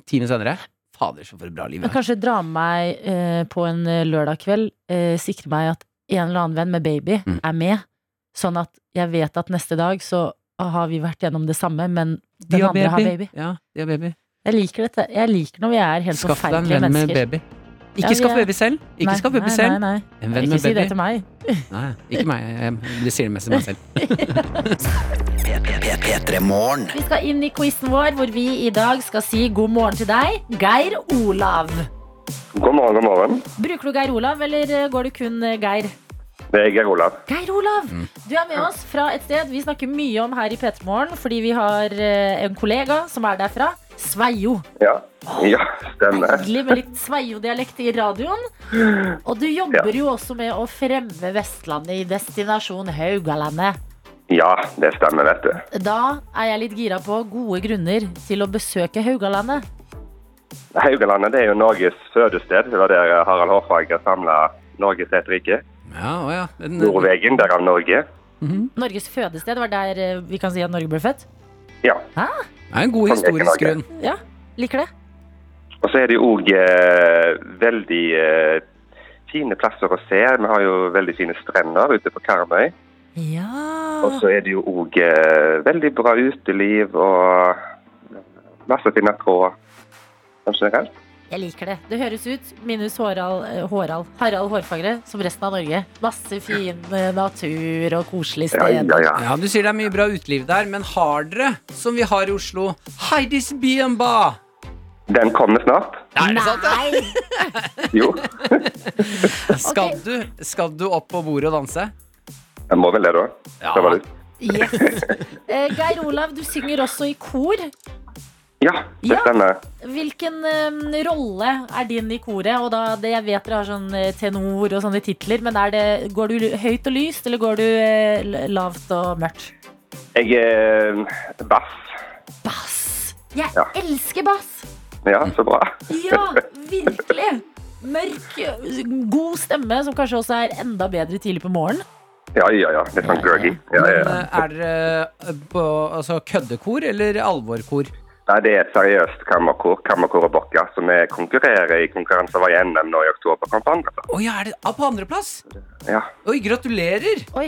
Timen senere. Fader, så for et bra liv.
Men
jeg har.
kanskje dra med meg eh, på en eh, lørdag kveld, eh, sikre meg at en eller annen venn med baby
Mm.
er med, sånn at jeg vet at neste dag så har vi vært gjennom det samme, men den
De har
andre har baby.
Ja, de har baby.
Jeg liker dette. Jeg liker når vi er helt
Skaff deg en
forferdelige
venn med
mennesker.
baby.
Ja,
Ikke
vi
skaff
er-
baby selv. Ikke
Nei,
skaff baby
nei,
selv.
Nei,
En
nei.
venn
Ikke
med
si det
baby.
til meg.
Nei, ikke meg. Jeg- Det sier det mest til meg selv.
P3morgen.
Vi skal inn i quizen vår, hvor vi i dag skal si god morgen til deg, Geir Olav.
God morgen, god morgen.
Bruker du Geir Olav, eller eh, går du kun eh, Geir?
Det er Geir Olav.
Geir Olav, du er med oss fra et sted vi snakker mye om her i P3morgen, fordi vi har eh, en kollega som er derfra. Sveio.
Ja, ja stemmer.
Hyggelig med litt Sveio-dialekt i radioen. Og du jobber jo også med å fremme Vestlandet i destinasjon Haugalandet.
Ja, det stemmer, vet du.
Da er jeg litt gira på gode grunner til å besøke Haugalandet.
Haugalandet det er jo Norges fødested. Det var der eh, Harald Hårfagre samla Norges ett rike.
Ja, å ja. Den, mhm.
Nordvegen, derav Norge.
Norges fødested var der eh, vi kan si at Norge ble født.
Ja.
det er en god historisk grunn.
Ja, liker det.
Og så er det jo òg eh, veldig eh, fine plasser å se. Vi har jo veldig fine strender ute på Karmøy. Og
Ja.
så er det jo òg eh, veldig bra uteliv og masse fine tråd sånn generelt.
Jeg liker det. Det høres ut, minus Håral, eh, Håral, Harald Hårfagre, som resten av Norge. Masse fin eh, natur og koselige
Ja,
steder.
ja, ja.
Ja, Du sier det er mye bra uteliv der, men har dere, som vi har i Oslo, Heidis Bienba?
Den kommer snart.
Er det sant? ja?
Jo,
Skal du, skal du opp på bordet og danse?
jeg må vel det, da.
Ja.
Det var det.
Yes. Eh, Geir Olav, du synger også i kor.
Ja, det
Ja.
stemmer.
Hvilken eh, rolle er din i koret? Og da, det, jeg vet dere har sånn eh, tenor og sånne titler, men er det, går du høyt og lyst, eller går du eh, l- lavt og mørkt?
Jeg er bass.
Bass! Jeg
Ja.
elsker bass!
Ja, så bra.
Ja, virkelig! Mørk, eh, god stemme, som kanskje også er enda bedre tidlig på morgenen.
Ja, ja, ja. Litt sånn groggy. Ja, ja,
Men
ja.
eh, er dere på altså, køddekor eller alvorkor?
Nei, det er et seriøst kammerkor, kammerkor og bokka, som vi konkurrerer i konkurranser var i NM nå i oktober. Kom på andre.
Å ja, er det ah, på andreplass?
Ja.
Oi, gratulerer!
Oi,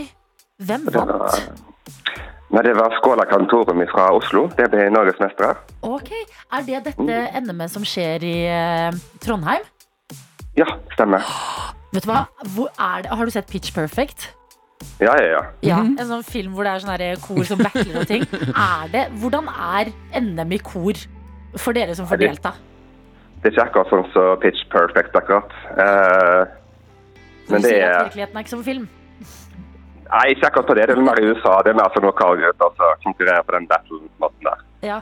hvem
Det
vant?
var, Nei, det var Skåla Kantorum fra Oslo. Det ble norgesmestere.
Ok, Er det dette
Mm.
NM-et som skjer i eh, Trondheim?
Ja, stemmer.
Vet du hva? Hvor er det? Har du sett Pitch Perfect?
Ja, ja, ja.
Ja,
Mhm.
En sånn film hvor det er sånn her kor som backer og ting. Er det, hvordan er NM i kor for dere som får
Er det-
delta?
Det er ikke akkurat sånn som Pitch Perfect, akkurat. Eh,
Du
men det
sier at
er
virkeligheten er ikke som film.
Nei, ikke akkurat på det. Det er mer i USA. Det er mer sånn lokalgutter som konkurrerer på den battlen-måten der.
Ja.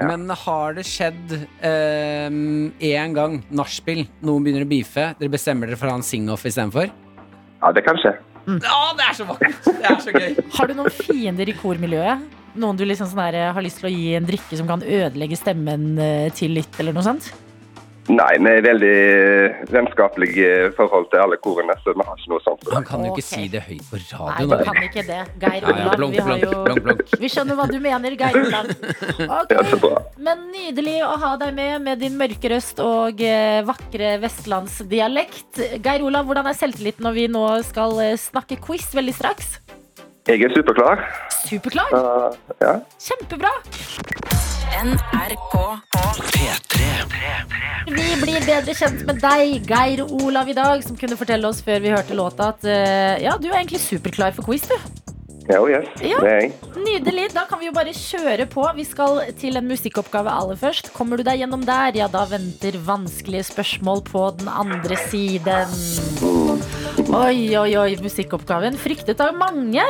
Men har det skjedd én gang nachspiel, noen begynner å beefe, dere bestemmer dere for å ha en sing-off istedenfor?
Ja, det kan skje.
Å, det er så vakkert! Det er så gøy.
Har du noen fiender i kormiljøet? Noen du liksom sånn her, har lyst til å gi en drikke som kan ødelegge stemmen eh, til litt, eller noe sånt?
Nei, vi er veldig eh, vennskapelige forhold til alle korene, så vi har ikke noe sånt.
Han kan jo ikke
Ok.
si det høyt på
Nei,
radioen.
du
da.
kan ikke det. Geir
Ja, ja,
Olav,
blunk,
vi har
blunk, blunk,
jo
blunk.
Vi skjønner hva du mener, Geir Olav. Ok,
Ja, så bra.
Men nydelig å ha deg med med din mørke røst og eh, vakre vestlandsdialekt. Geir Olav, hvordan er selvtilliten når vi nå skal eh, snakke quiz veldig straks?
Jeg er superklar.
Superklar!
så ja.
Kjempebra!
NRK
Vi blir bedre kjent med deg, Geir Olav, i dag, som kunne fortelle oss før vi hørte låta at eh, ja, du er egentlig superklar for quiz, du.
Ja, oh yes.
Ja.
Det er jeg.
Nydelig. Da kan vi jo bare kjøre på. Vi skal til en musikkoppgave aller først. Kommer du deg gjennom der, ja, da venter vanskelige spørsmål på den andre siden. Oi, oi, oi, musikkoppgaven fryktet av mange.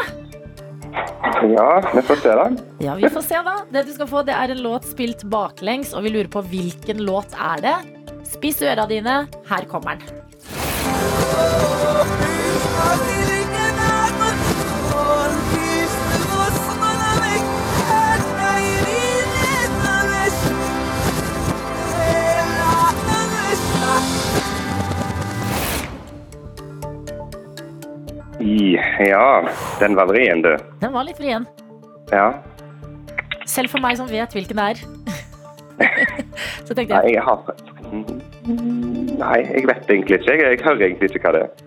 Ja, vi får se da.
Ja, vi får se, da. Det du skal få, det er en låt spilt baklengs, og vi lurer på hvilken låt er det. Spiss øra dine. Her kommer den.
Oi, ja. Den var vrien, du.
Den var litt vrien.
Ja.
Selv for meg som vet hvilken det er. Så tenkte
Nei,
jeg
jeg har Mm. Nei, jeg vet egentlig ikke. Jeg, jeg hører egentlig ikke hva det er.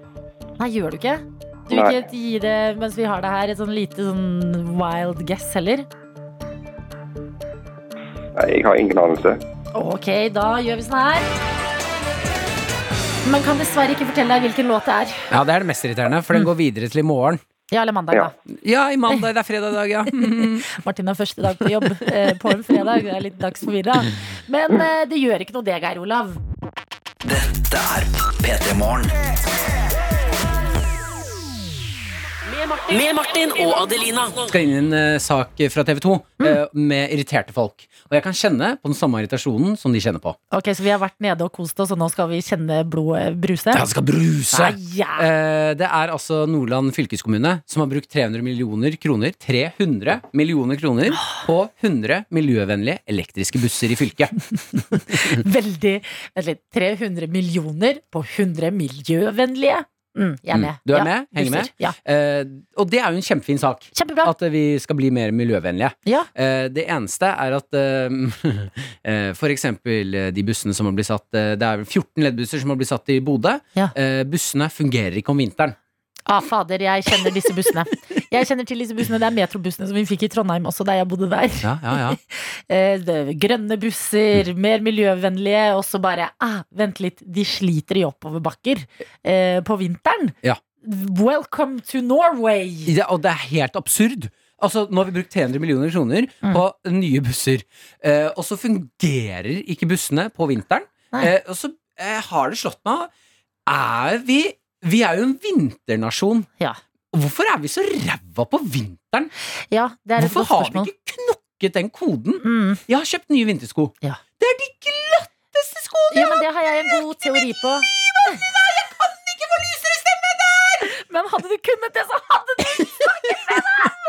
Nei, gjør du ikke? Du vil
Nei.
ikke gi det mens vi har det her, et sånn lite sånn wild guess heller?
Nei, jeg har ingen anelse.
Ok, da gjør vi sånn her. Men kan dessverre ikke fortelle deg hvilken låt det er.
Ja, det er det mest irriterende, for den går videre til i morgen.
Ja, eller mandag,
Ja.
da.
Ja, i mandag. Det er fredag i dag, ja.
Martin har første dag på jobb eh, på en fredag. Jeg er litt dagsforvirra. Men eh, det gjør ikke noe det, Geir Olav.
Dette er P3 Morgen.
Med Martin og Adelina.
skal inn i en eh, sak fra TV 2 eh, med irriterte folk. Og jeg kan kjenne på den samme irritasjonen som de kjenner på.
Ok, Så vi har vært nede og kost oss, og nå skal vi kjenne blodet bruse?
Jeg skal bruse!
Nei, ja.
Eh, det er altså Nordland fylkeskommune som har brukt 300 millioner kroner 300 millioner kroner på 100 miljøvennlige elektriske busser i fylket.
Veldig Vent litt. 300 millioner på 100 miljøvennlige. Mm, jeg er
Mm.
med.
Du er
Ja,
med? Henger
busser.
med?
Ja.
Eh, og det er jo en kjempefin sak.
Kjempebra.
At eh, vi skal bli mer miljøvennlige.
Ja.
Eh, det eneste er at eh, eh, for eksempel eh, de bussene som har blitt satt eh, Det er vel 14 leddbusser som har blitt satt i Bodø.
Ja.
Eh, bussene fungerer ikke om vinteren.
Ah, fader, jeg kjenner disse bussene. Jeg kjenner til disse bussene. Det er metrobussene som vi fikk i Trondheim også, der jeg bodde der.
Ja, ja, ja.
Eh, det er grønne busser,
Mm.
mer miljøvennlige, og så bare ah, Vent litt, de sliter i oppoverbakker eh, på vinteren.
Ja.
Welcome to Norway!
Det, og det er helt absurd. Altså, Nå har vi brukt 300 millioner kroner
Mm.
på nye busser, eh, og så fungerer ikke bussene på vinteren.
Nei.
Eh, og så eh, har det slått meg Er vi Vi er jo en vinternasjon.
Ja.
Hvorfor er vi så ræva på vinteren?
Ja, det er et
Hvorfor
godt
har vi
spørsmål.
ikke knokket den koden?
Mm.
Jeg har kjøpt nye vintersko.
Ja.
Det er de glatteste skoene!
Ja, men det har jeg en god teori på. Men hadde du kunnet det, så hadde du snakket med dem!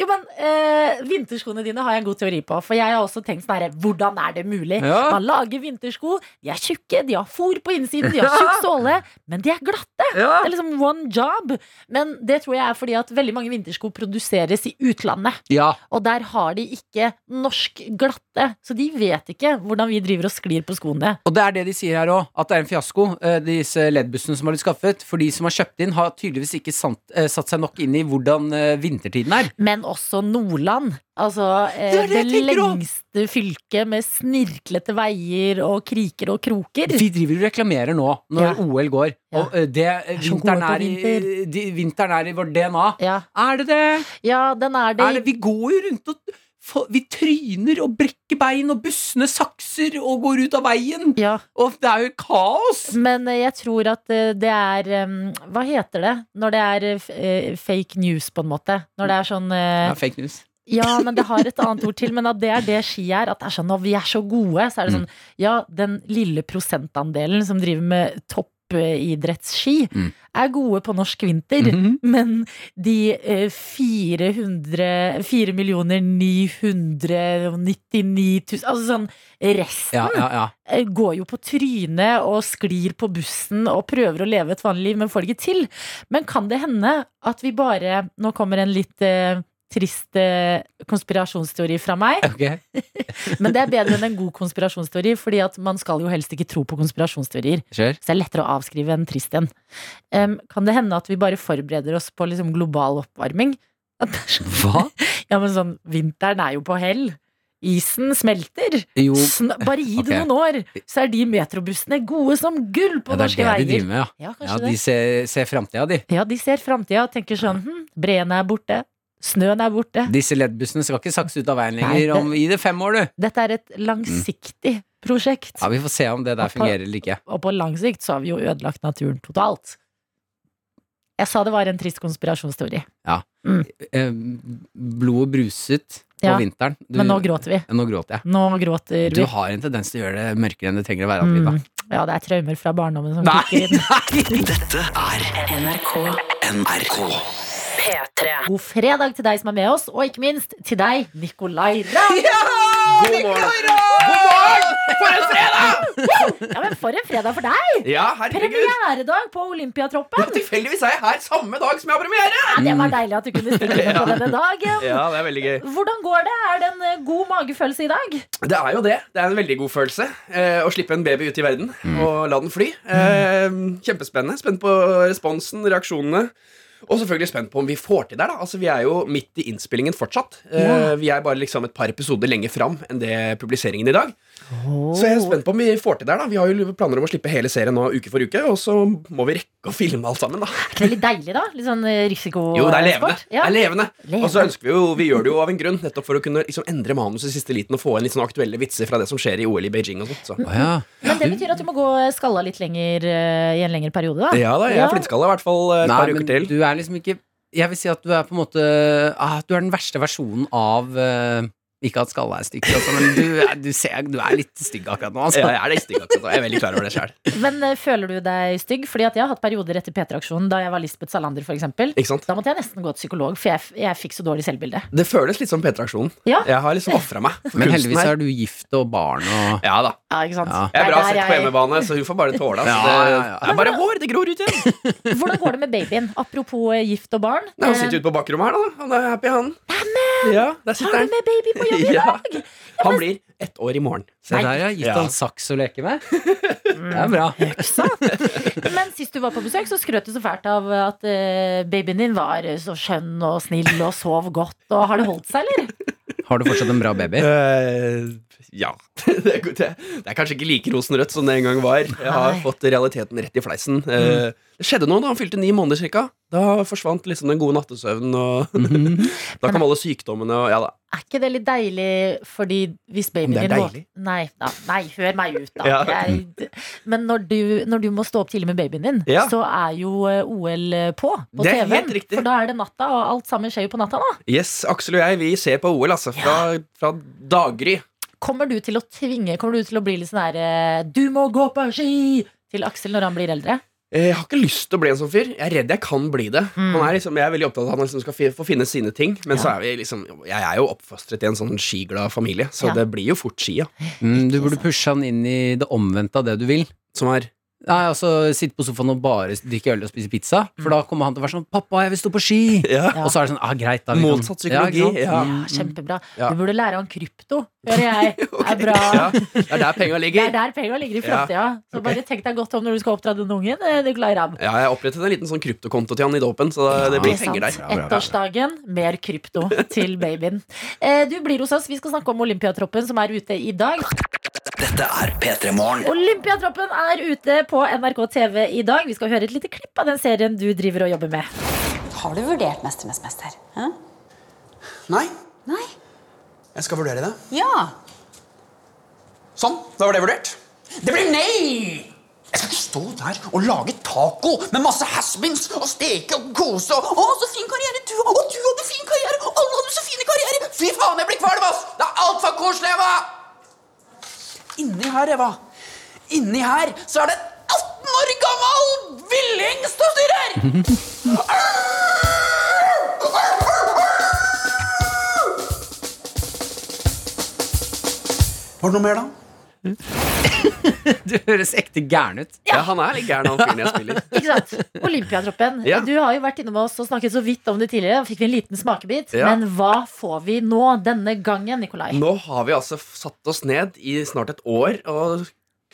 Jo, men eh, vinterskoene dine har jeg en god teori på. For jeg har også tenkt sånn herre, hvordan er det mulig?
Ja.
Man lager vintersko, de er tjukke, de har fôr på innsiden, de har tjukk såle, men de er glatte! Det er liksom one job. Men det tror jeg er fordi at veldig mange vintersko produseres i utlandet.
Ja,
Og der har de ikke norsk glatte, så de vet ikke hvordan vi driver og sklir på skoene.
og det er det de sier her òg, at det er en fiasko. eh, Disse LED-bussene som har blitt skaffet. For de som har kjøpt inn, har tydeligvis ikke sant, eh, satt seg nok inn i hvordan eh, vintertiden er.
Men også Nordland. Altså eh,
Det er
det,
det jeg tenker om.
lengste fylket med snirklete veier og kriker og kroker.
Vi driver og reklamerer nå, når
Ja.
OL går. Og eh, det, eh,
er så gode
vinteren,
på
er i,
vinter.
de, vinteren er i vår DNA.
Ja,
Er det det?
ja den er det.
Er det vi går jo rundt og få- vi tryner og brekker bein, og bussene sakser og går ut av veien.
Ja.
Og det er jo kaos!
Men eh, jeg tror at eh, det er eh, Hva heter det når det er eh, f- eh, fake news, på en måte? Når det er sånn eh,
Ja, fake news.
Ja, men det har et annet ord til. Men at det er det ski er. At det er sånn, når vi er så gode, så er
Mm.
det sånn Ja, den lille prosentandelen som driver med toppidrettsski,
Mm.
er gode på norsk vinter.
Mhm.
Men de eh, 400 4 999 000 Altså sånn Resten
Ja, ja, ja.
eh, går jo på trynet og sklir på bussen og prøver å leve et vanlig liv, men får det ikke til. Men kan det hende at vi bare Nå kommer en litt eh, trist eh, konspirasjonsteori fra meg,
Ok.
men det er bedre enn en god konspirasjonsteori, fordi at man skal jo helst ikke tro på konspirasjonsteorier.
Kjør.
Så det er lettere å avskrive en trist en. Em, kan det hende at vi bare forbereder oss på liksom global oppvarming? At det er sånn,
Hva?
ja, men sånn, vinteren er jo på hell. Isen smelter.
Jo,
Sn- Bare gi det
ok.
noen år, så er de metrobussene gode som gull på
ja, det er
norske
det de
veier.
driver med, ja.
Ja, kanskje
ja de
det.
ser, ser framtida, de.
Ja, de ser framtida og tenker sånn hm, Breene er borte. Snøen er borte.
Disse LED-bussene skal ikke sakse ut av veien
Nei, det-
lenger. Om, gi det fem år, du!
Dette er et langsiktig prosjekt.
Ja, Vi får se om det der
Hoppa.
fungerer eller ikke.
Og på lang sikt så har vi jo ødelagt naturen totalt. Jeg sa det var en trist konspirasjonsteori.
Eh, Blodet bruset på
Ja,
vinteren. Du-
Men nå gråter vi.
Ja, nå gråter jeg.
Nå gråter
Du
vi.
har en tendens til å gjøre det mørkere enn det trenger å være. Adelina.
Mm. Ja, det er traumer fra barndommen som
Nei,
kicker inn.
nei!
Dette er
NRK
NRK.
P3.
God fredag til deg som er med oss, og ikke minst til deg, Nicolay Ramm.
God morgen!
Ja, men for en fredag for deg!
Ja, herregud.
Premieredag på Olympiatroppen.
Tilfeldigvis er jeg her samme dag som jeg har premiere!
Ja, det var deilig at du kunne stille med på denne dagen.
Ja, det er veldig gøy.
Hvordan går det? Er det en eh, god magefølelse i dag?
Det er jo det. Det er en veldig god følelse eh, å slippe en baby ut i verden
Mm.
og la den fly. Eh, kjempespennende. Spent på responsen, reaksjonene. Og selvfølgelig spent på om vi får til det. da Altså Vi er jo midt i innspillingen fortsatt. Eh, Vi er bare liksom et par episoder lenger fram enn det publiseringen i dag. Så jeg er spent på om vi får til det. da Vi har jo planer om å slippe hele serien nå uke for uke, og så må vi rekke å filme alt sammen. da
Er det Veldig deilig, da. Litt sånn eh, risiko
Jo, det er levende.
Ja.
Det er levende.
Levende.
Og så ønsker vi jo Vi gjør det jo av en grunn, nettopp for å kunne liksom endre manuset i siste liten og få inn litt sånn aktuelle vitser fra det som skjer i OL i Beijing og sånt. Så.
Å ja.
Men det betyr at du må gå eh, skalla litt lenger eh, i en lengre periode, da.
Ja da, jeg er flintkalla i hvert fall eh, et
Nei,
par
men
uker til.
du er liksom ikke Jeg vil si at du er på en måte ah, Du er den verste versjonen av eh, Ikke at skalla er stygg, altså, men du, er- du, ser, du er litt stygg akkurat nå. Altså.
Ja, jeg er litt stygg akkurat nå. Jeg er veldig klar over det sjøl.
Men eh, føler du deg stygg? Fordi at jeg har hatt perioder etter P3-aksjonen, da jeg var Lisbeth Salander, for eksempel.
Ikke sant?
Da måtte jeg nesten gå til psykolog, for jeg, f- jeg fikk så dårlig selvbilde.
Det føles litt som P3-aksjonen.
Ja.
Jeg har liksom ofra meg. for
Men
kunsten
heldigvis
her.
er du gift og barn og
Ja da.
Ja, ikke sant?
Ja.
Jeg
Det
er bra
der
sett på
jeg-
hjemmebane, så hun får bare tåle
Ja,
altså,
ja, ja.
det. Det er bare hår, det gror ut igjen.
Hvordan går det med babyen? Apropos eh, gift og barn.
Nei, Han
Eh,
sitter ute på bakrommet her, da. Han er happy, han. Ja, der
Har Eh,
sitter
du
han.
med baby på jobb i
Ja.
dag?
Han blir ett år i morgen.
Se der, ja. Gitt
Ja.
han saks å leke med. Det er bra.
Men sist du var på besøk, så skrøt du så fælt av at eh, babyen din var eh, så skjønn og snill og sov godt. Og har det holdt seg, eller?
Har du fortsatt en bra baby?
Eh, ja. Det er, det, det er kanskje ikke like rosenrødt som det en gang var. Jeg har
Nei. Mm.
fått realiteten rett i fleisen. Eh, det skjedde noe da han fylte ni måneder cirka. Da forsvant liksom den gode nattesøvnen, og
Mhm.
da kom alle sykdommene og ja da.
Er ikke det litt deilig fordi hvis babyen
Om det er
din våk-
deilig?
Nei, da, nei, hør meg ut, da.
Ja.
Jeg, men når du, når du må stå opp tidlig med babyen din,
Ja.
så er jo eh, OL på på
Det er
TV-en.
helt riktig.
For da er det natta, og alt sammen skjer jo på natta, da.
Yes, Aksel og jeg, vi ser på OL, altså. Fra, fra daggry.
Kommer du til å tvinge Kommer du til å bli litt sånn her eh, Du må gå på ski! Til Aksel når han blir eldre?
Eh, Jeg har ikke lyst til å bli en sånn fyr. Jeg er redd jeg kan bli det.
Mm.
Han er liksom, jeg er veldig opptatt av at han liksom skal fi- få finne sine ting. Men så er vi liksom, jeg er jo oppfostret i en sånn skiglad familie, så
Ja.
det blir jo fort skia.
Mm, du burde pushe han inn i det omvendte av det du vil.
Som er
Nei, altså Sitte på sofaen og bare drikke øl og spise pizza. For da kommer han til å være sånn 'Pappa, jeg vil stå på ski!'
Mm. ja.
Og så er det sånn ah, 'Greit, da'. vi kan-
Motsatt psykologi,
ikke sant? Mm.
ja.
Ja, kjempebra.
Mm. Ja.
Du burde lære han krypto, hører jeg. Er bra.
Ja, det er der penga
Det er
ligger.
der penga ligger i framtida. Så bare tenk deg godt om når du skal oppdra denne ungen. eh, Nicolai Ramm.
Ja, jeg opprettet en liten sånn kryptokonto til han i dåpen, så det, det blir
Ikke
penger
sant?
der.
Ettårsdagen, mer krypto til babyen. Eh, Du blir hos oss. Vi skal snakke om Olympiatroppen som er ute i dag.
Dette er P3 Morgen.
Olympiatroppen er ute på NRK TV i dag. Vi skal høre et lite klipp av den serien du driver og jobber med.
Har du vurdert 'Mesternes mester'? Hæ?
Nei,
Nei?
jeg skal vurdere det.
Ja.
Sånn, da var det vurdert. Det blir nei!
Jeg skal ikke stå der og lage taco med masse haspins og steke og kose. og- Å, så fin karriere du har! Og du hadde fin karriere! og Alle hadde så fine karrierer! Fy faen, jeg blir kvalm, ass! Det er altfor koselig, Eva! Inni her, Eva, inni her så er det en 18 år gammel villing som styrer!
Var det noe mer, da?
Du høres ekte gæren ut.
Ja, han er litt gæren, han fyren jeg spiller.
Ikke sant? Olympiatroppen.
Ja.
Du har jo vært innom oss og snakket så vidt om det tidligere. Da Fikk vi en liten smakebit.
Ja.
Men hva får vi nå denne gangen, Nikolai?
Nå har vi altså f- satt oss ned i snart et år og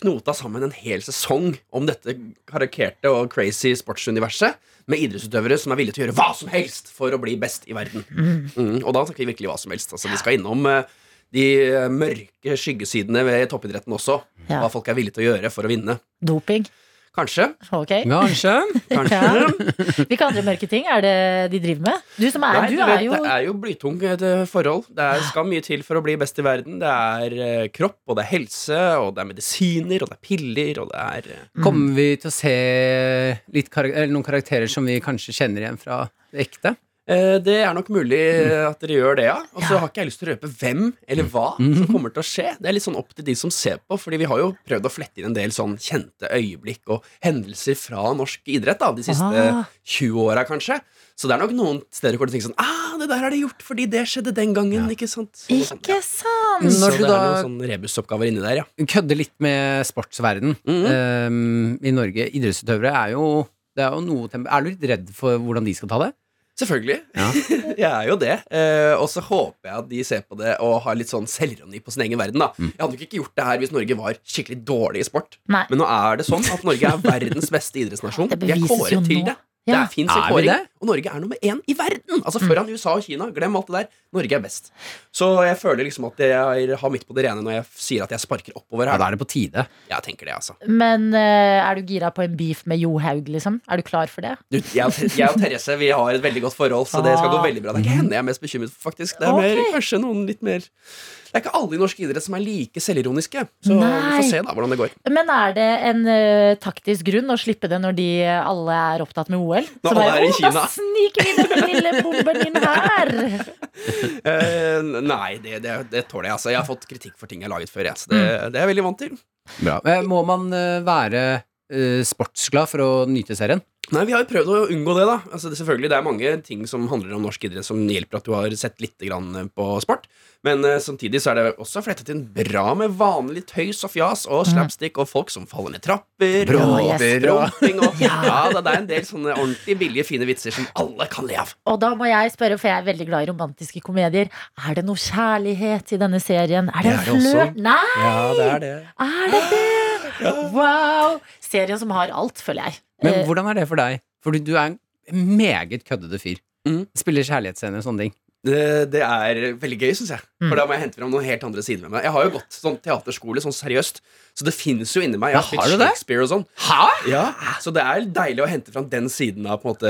knota sammen en hel sesong om dette karikerte og crazy sportsuniverset med idrettsutøvere som er villige til å gjøre hva som helst for å bli best i verden. Mm, og da snakker vi virkelig hva som helst. Altså, vi skal innom eh, de eh, mørke skyggesidene ved toppidretten også.
Ja.
Hva folk er villige til å gjøre for å vinne.
Doping.
Kanskje.
Ok.
Kanskje.
kanskje.
Ja. Hvilke andre mørke ting er det de driver med? Du som er,
Nei,
du
du vet,
er jo
Det er jo blytung eh, forhold. Det er, skal mye til for å bli best i verden. Det er eh, kropp, og det er helse, og det er medisiner, og det er piller, og det er eh,
Kommer vi til å se litt kar eller noen karakterer som vi kanskje kjenner igjen fra det ekte?
Eh, Det er nok mulig eh, at dere gjør det, ja. Og så har ikke jeg lyst til å røpe hvem eller hva som kommer til å skje. Det er litt sånn opp til de som ser på, fordi vi har jo prøvd å flette inn en del sånn kjente øyeblikk og hendelser fra norsk idrett da, de siste
Ah.
20 åra, kanskje. Så det er nok noen steder hvor du tenker sånn Ah, det der er det gjort fordi det skjedde den gangen, ikke sant? Så, sånn,
Ikke sant?
så
Når
det
du
er
da-
noen sånne rebusoppgaver inni der, ja.
kødde litt med sportsverden
Mhm.
eh, i Norge. Idrettsutøvere er jo, det er jo noe temp- Er du litt redd for hvordan de skal ta det?
Selvfølgelig.
Ja.
jeg er jo det. Eh, og så håper jeg at de ser på det og har litt sånn selvironi på sin egen verden. da
Mm.
Jeg hadde jo ikke gjort det her hvis Norge var skikkelig dårlig i sport.
Nei.
Men nå er det sånn at Norge er verdens beste idrettsnasjon.
Det
Vi er
bevises jo
kåret til
nå.
det. Det
Ja.
er fin sin
Er vi
kåring.
det?
Og Norge er nummer én i verden! Altså Foran USA og Kina. Glem alt det der. Norge er best. Så jeg føler liksom at jeg har mitt på det rene når jeg sier at jeg sparker oppover
Ja,
her.
Da er det på tide.
Jeg tenker det, altså.
Men eh, er du gira på en beef med Johaug, liksom? Er du klar for det?
Du, jeg, og, jeg og Therese vi har et veldig godt forhold, så det skal gå veldig bra. Det er
Mhm.
ikke henne jeg er mest bekymret for, faktisk. Det er
Ah. Ok.
mer, kanskje noen litt mer Det er ikke alle i norsk idrett som er like selvironiske. Så vi
Nei.
får se da hvordan det går.
Men er det en eh, taktisk grunn å slippe det når de eh, alle er opptatt med OL? Så
alle er i
«Å, Da
Kina».
sniker vi den lille bomben inn her!
Eh, nei, det, det, det tåler jeg. Altså. Jeg har fått kritikk for ting jeg har laget før. Jeg, så det, det er jeg veldig vant til.
Bra. Eh, må man eh, være eh, sportsglad for å nyte serien?
Nei, Vi har jo prøvd å unngå det. da Altså det, selvfølgelig, det er mange ting som handler om norsk idrett som hjelper at du har sett litt grann eh, på sport. Men eh, samtidig så er det også flettet inn bra med vanlig tøys og fjas og slapstick og folk som faller ned trapper.
Bråter
og promping og Ja, da, det er en del sånne ordentlig billige, fine vitser som alle kan le av.
Og da må jeg spørre, for jeg er veldig glad i romantiske komedier. Er det noe kjærlighet i denne serien? Er det en
Det er det også.
flørt? Nei!
det er det.
Er det det? Wow! Serien som har alt, føler jeg.
Men
Eh,
hvordan er det for deg? Fordi du er en meget køddete fyr.
Mhm.
Spiller kjærlighetsscener og sånne ting.
Det, Eh, det er veldig gøy, syns jeg.
Mm.
For da må jeg hente fram noen helt andre sider med meg. Jeg har jo gått sånn teaterskole, sånn seriøst, så det fins jo inni meg. Jeg
Ja,
har spilt
har du det?
Shakespeare og sånn. Ja, Så det er deilig å hente fram den siden av på en måte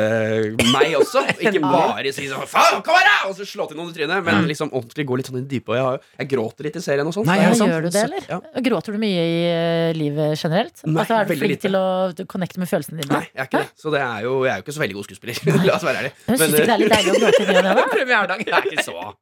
meg også. Ikke bare si sånn faen, kom her, da!" og så slå til noen i trynet, men
Mm.
liksom ordentlig gå litt sånn i det dype. Og jeg, har, jo- jeg gråter litt i serien og sånn.
Nei,
så
er
Ja,
det sant?
gjør du det, eller?
Ja.
Gråter du mye i eh, livet generelt?
Nei,
altså, er du
veldig
flink
lite.
til å connecte med følelsene dine?
Nei, jeg er ikke det. Så det er jo, jeg er jo ikke så veldig god skuespiller. La oss være ærlig.
Men Syns du ikke det er litt deilig å gråte i ny og ne, da?
Premieredag. Jeg er ikke så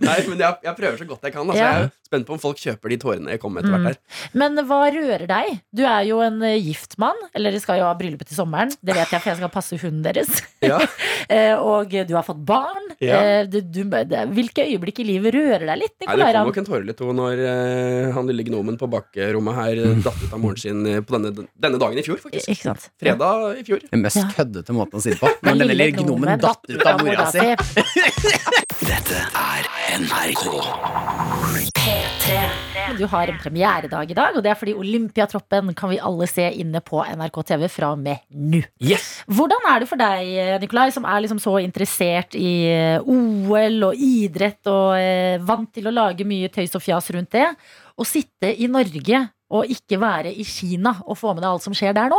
Nei, men jeg, jeg prøver så godt jeg kan. Altså.
Ja. Mm.
Jeg er jo spent på om folk kjøper de tårene jeg kommer med etter hvert her.
Men hva rører deg? Du er jo en eh, gift mann. Eller dere skal jo ha bryllupet til sommeren. Det vet jeg, for jeg skal passe hunden deres.
Ja.
Eh, og du har fått barn.
Ja.
Eh, Du, du, det, hvilke øyeblikk i livet rører deg litt?
Nei, det kom
Nicolai Ramm?
nok en tåre eller to når eh, han lille gnomen på bakrommet her eh, datt ut av moren sin eh, på denne, denne dagen i fjor, faktisk.
Ikke sant?
Fredag i fjor.
Den mest
Ja.
køddete måten å si det på. Når denne lille gnomen datt ut av mora si.
Du har en premieredag i dag, og det er fordi Olympiatroppen kan vi alle se inne på NRK TV fra og med nå. Hvordan er det for deg, Nikolai, som er liksom så interessert i eh, OL og idrett og eh, vant til å lage mye tøys og fjas rundt det, å sitte i Norge og ikke være i Kina og få med deg alt som skjer der nå?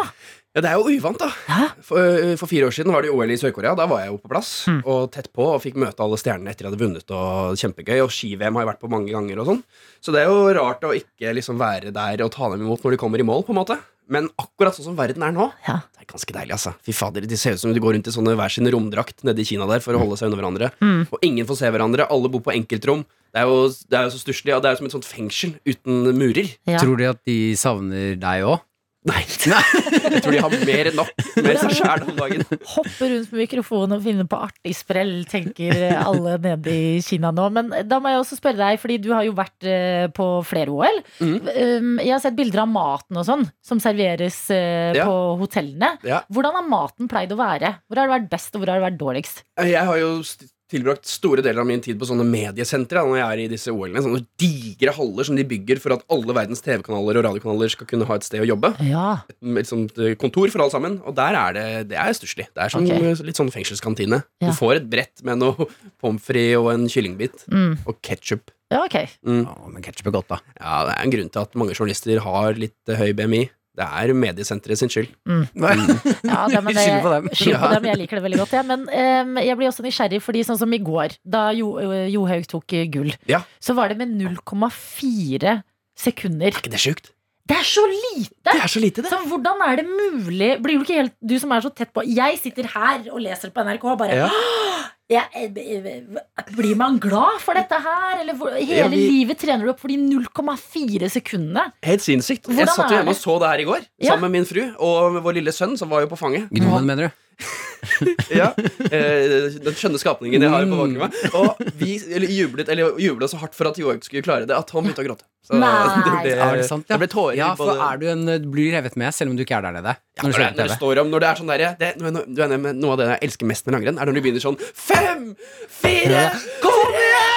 Ja, det er jo uvant, da.
Hæ?
For, eh, for fire år siden var det OL i Sør-Korea. Da var jeg jo på plass og tett på og fikk møte alle stjernene etter jeg hadde vunnet. Og kjempegøy, og ski-VM har jeg vært på mange ganger. og sånn Så det er jo rart å ikke liksom være der og ta dem imot når de kommer i mål. på en måte Men akkurat sånn som verden er nå,
Ja.
det er ganske deilig. altså Fy fader, De ser ut som de går rundt i sånne hver sin romdrakt nede i Kina der for å holde seg unna hverandre.
Mm.
Og ingen får se hverandre. Alle bor på enkeltrom. Det er jo, det er jo så stusslig. og Det er jo som et sånt fengsel uten murer.
Ja.
Tror de at de savner deg òg?
Nei, Jeg tror de har mer enn nok med seg sjæl om dagen.
Hoppe rundt med mikrofonen og finne på artig sprell, tenker alle nede i Kina nå. Men da må jeg også spørre deg, fordi du har jo vært eh, på flere OL.
Mm.
Um, Jeg har sett bilder av maten og sånn, som serveres eh,
Ja.
på hotellene.
Ja.
Hvordan har maten pleid å være? Hvor har det vært best, og hvor har det vært dårligst?
Eh, Jeg har jo st- tilbrakt store deler av min tid på sånne mediesentre da, når jeg er i disse OL-ene. Sånne digre haller som de bygger for at alle verdens TV-kanaler og radiokanaler skal kunne ha et sted å jobbe.
Ja,
Et liksom, eh, kontor for alle sammen. Og der er det Det er stusslig. Det er som,
Ok.
eh, litt sånn fengselskantine.
Ja.
Du får et brett med noe pommes frites og en kyllingbit.
mm.
Og ketsjup.
ja ok.
Mm.
Å, men ketsjup er godt, da.
Ja, det er en grunn til at mange journalister har litt eh, høy BMI. Det er mediesenteret sin skyld.
Mm.
Ja, da, men det,
Skyld på dem.
Skyld på
Ja.
dem. Jeg liker det veldig godt, jeg. Men em, jeg blir også nysgjerrig, fordi sånn som i går, da jo, Johaug tok eh, gull,
Ja.
så var det med 0,4 sekunder.
Er ikke det sjukt?
Det er så lite!
Det er så lite, det.
Så hvordan er det mulig Blir du ikke helt Du som er så tett på Jeg sitter her og leser på NRK og bare
Ja.
«Åh, jeg, eh, jeg, Blir man glad for dette her? Eller hvor, hele
Ja, vi-
livet trener du opp for de 0,4 sekundene?
Helt sinnssykt.
Hvordan
jeg satt
er
jo hjemme og
det?
så det her i går
Ja.
sammen med min fru og vår lille sønn, som var jo på fanget.
Gnomen, mener du?
ja, eh, Den skjønne skapningen jeg har på bakrommet. Og vi eller, jublet, eller, jublet så hardt for at Joakim skulle klare det, at han begynte å gråte. Så
Nei.
ble-
Er det sant? Ja,
det ble tårer.
ja
i
for
både-
er du en, eh, du blir revet med selv om du ikke er der nede? Når
når,
du
det,
ser på
når, det
TV.
står om, når det er sånn derre det- nå- nå- Du er enig med noe av det jeg elsker mest med langrenn, er når du begynner sånn Fem, fire, kom igjen!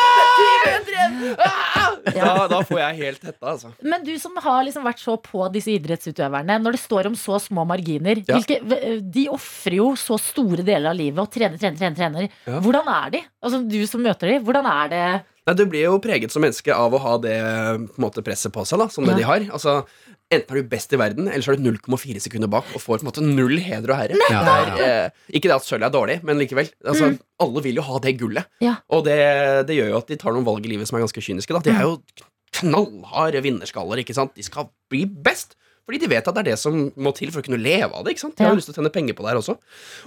Da, da får jeg helt hetta, altså.
Men du som har liksom vært så på disse idrettsutøverne, når det står om så små marginer
Ja.
hvilke, v- De ofrer jo så store deler av livet og trener, trener, trener. trener.
Ja.
Hvordan er de? Altså Du som møter de, hvordan er det?
Nei, Du blir jo preget som menneske av å ha det på en måte, presset på seg. da, som
Ja.
det de har. Altså, Enten er du best i verden, eller så er du 0,4 sekunder bak og får på en måte null heder og herre.
Ja, ja,
Det er, eh, ikke det at sølv er dårlig, men likevel. Altså, Alle vil jo ha det
Mm.
gullet.
Ja.
Og det, det gjør jo at de tar noen valg i livet som er ganske kyniske. da. De
Mm.
er jo knallharde vinnerskaller. ikke sant? De skal bli best! Fordi de vet at det er det som må til for å kunne leve av det. ikke sant? De har
Ja.
jo lyst til å tjene penger på det her også.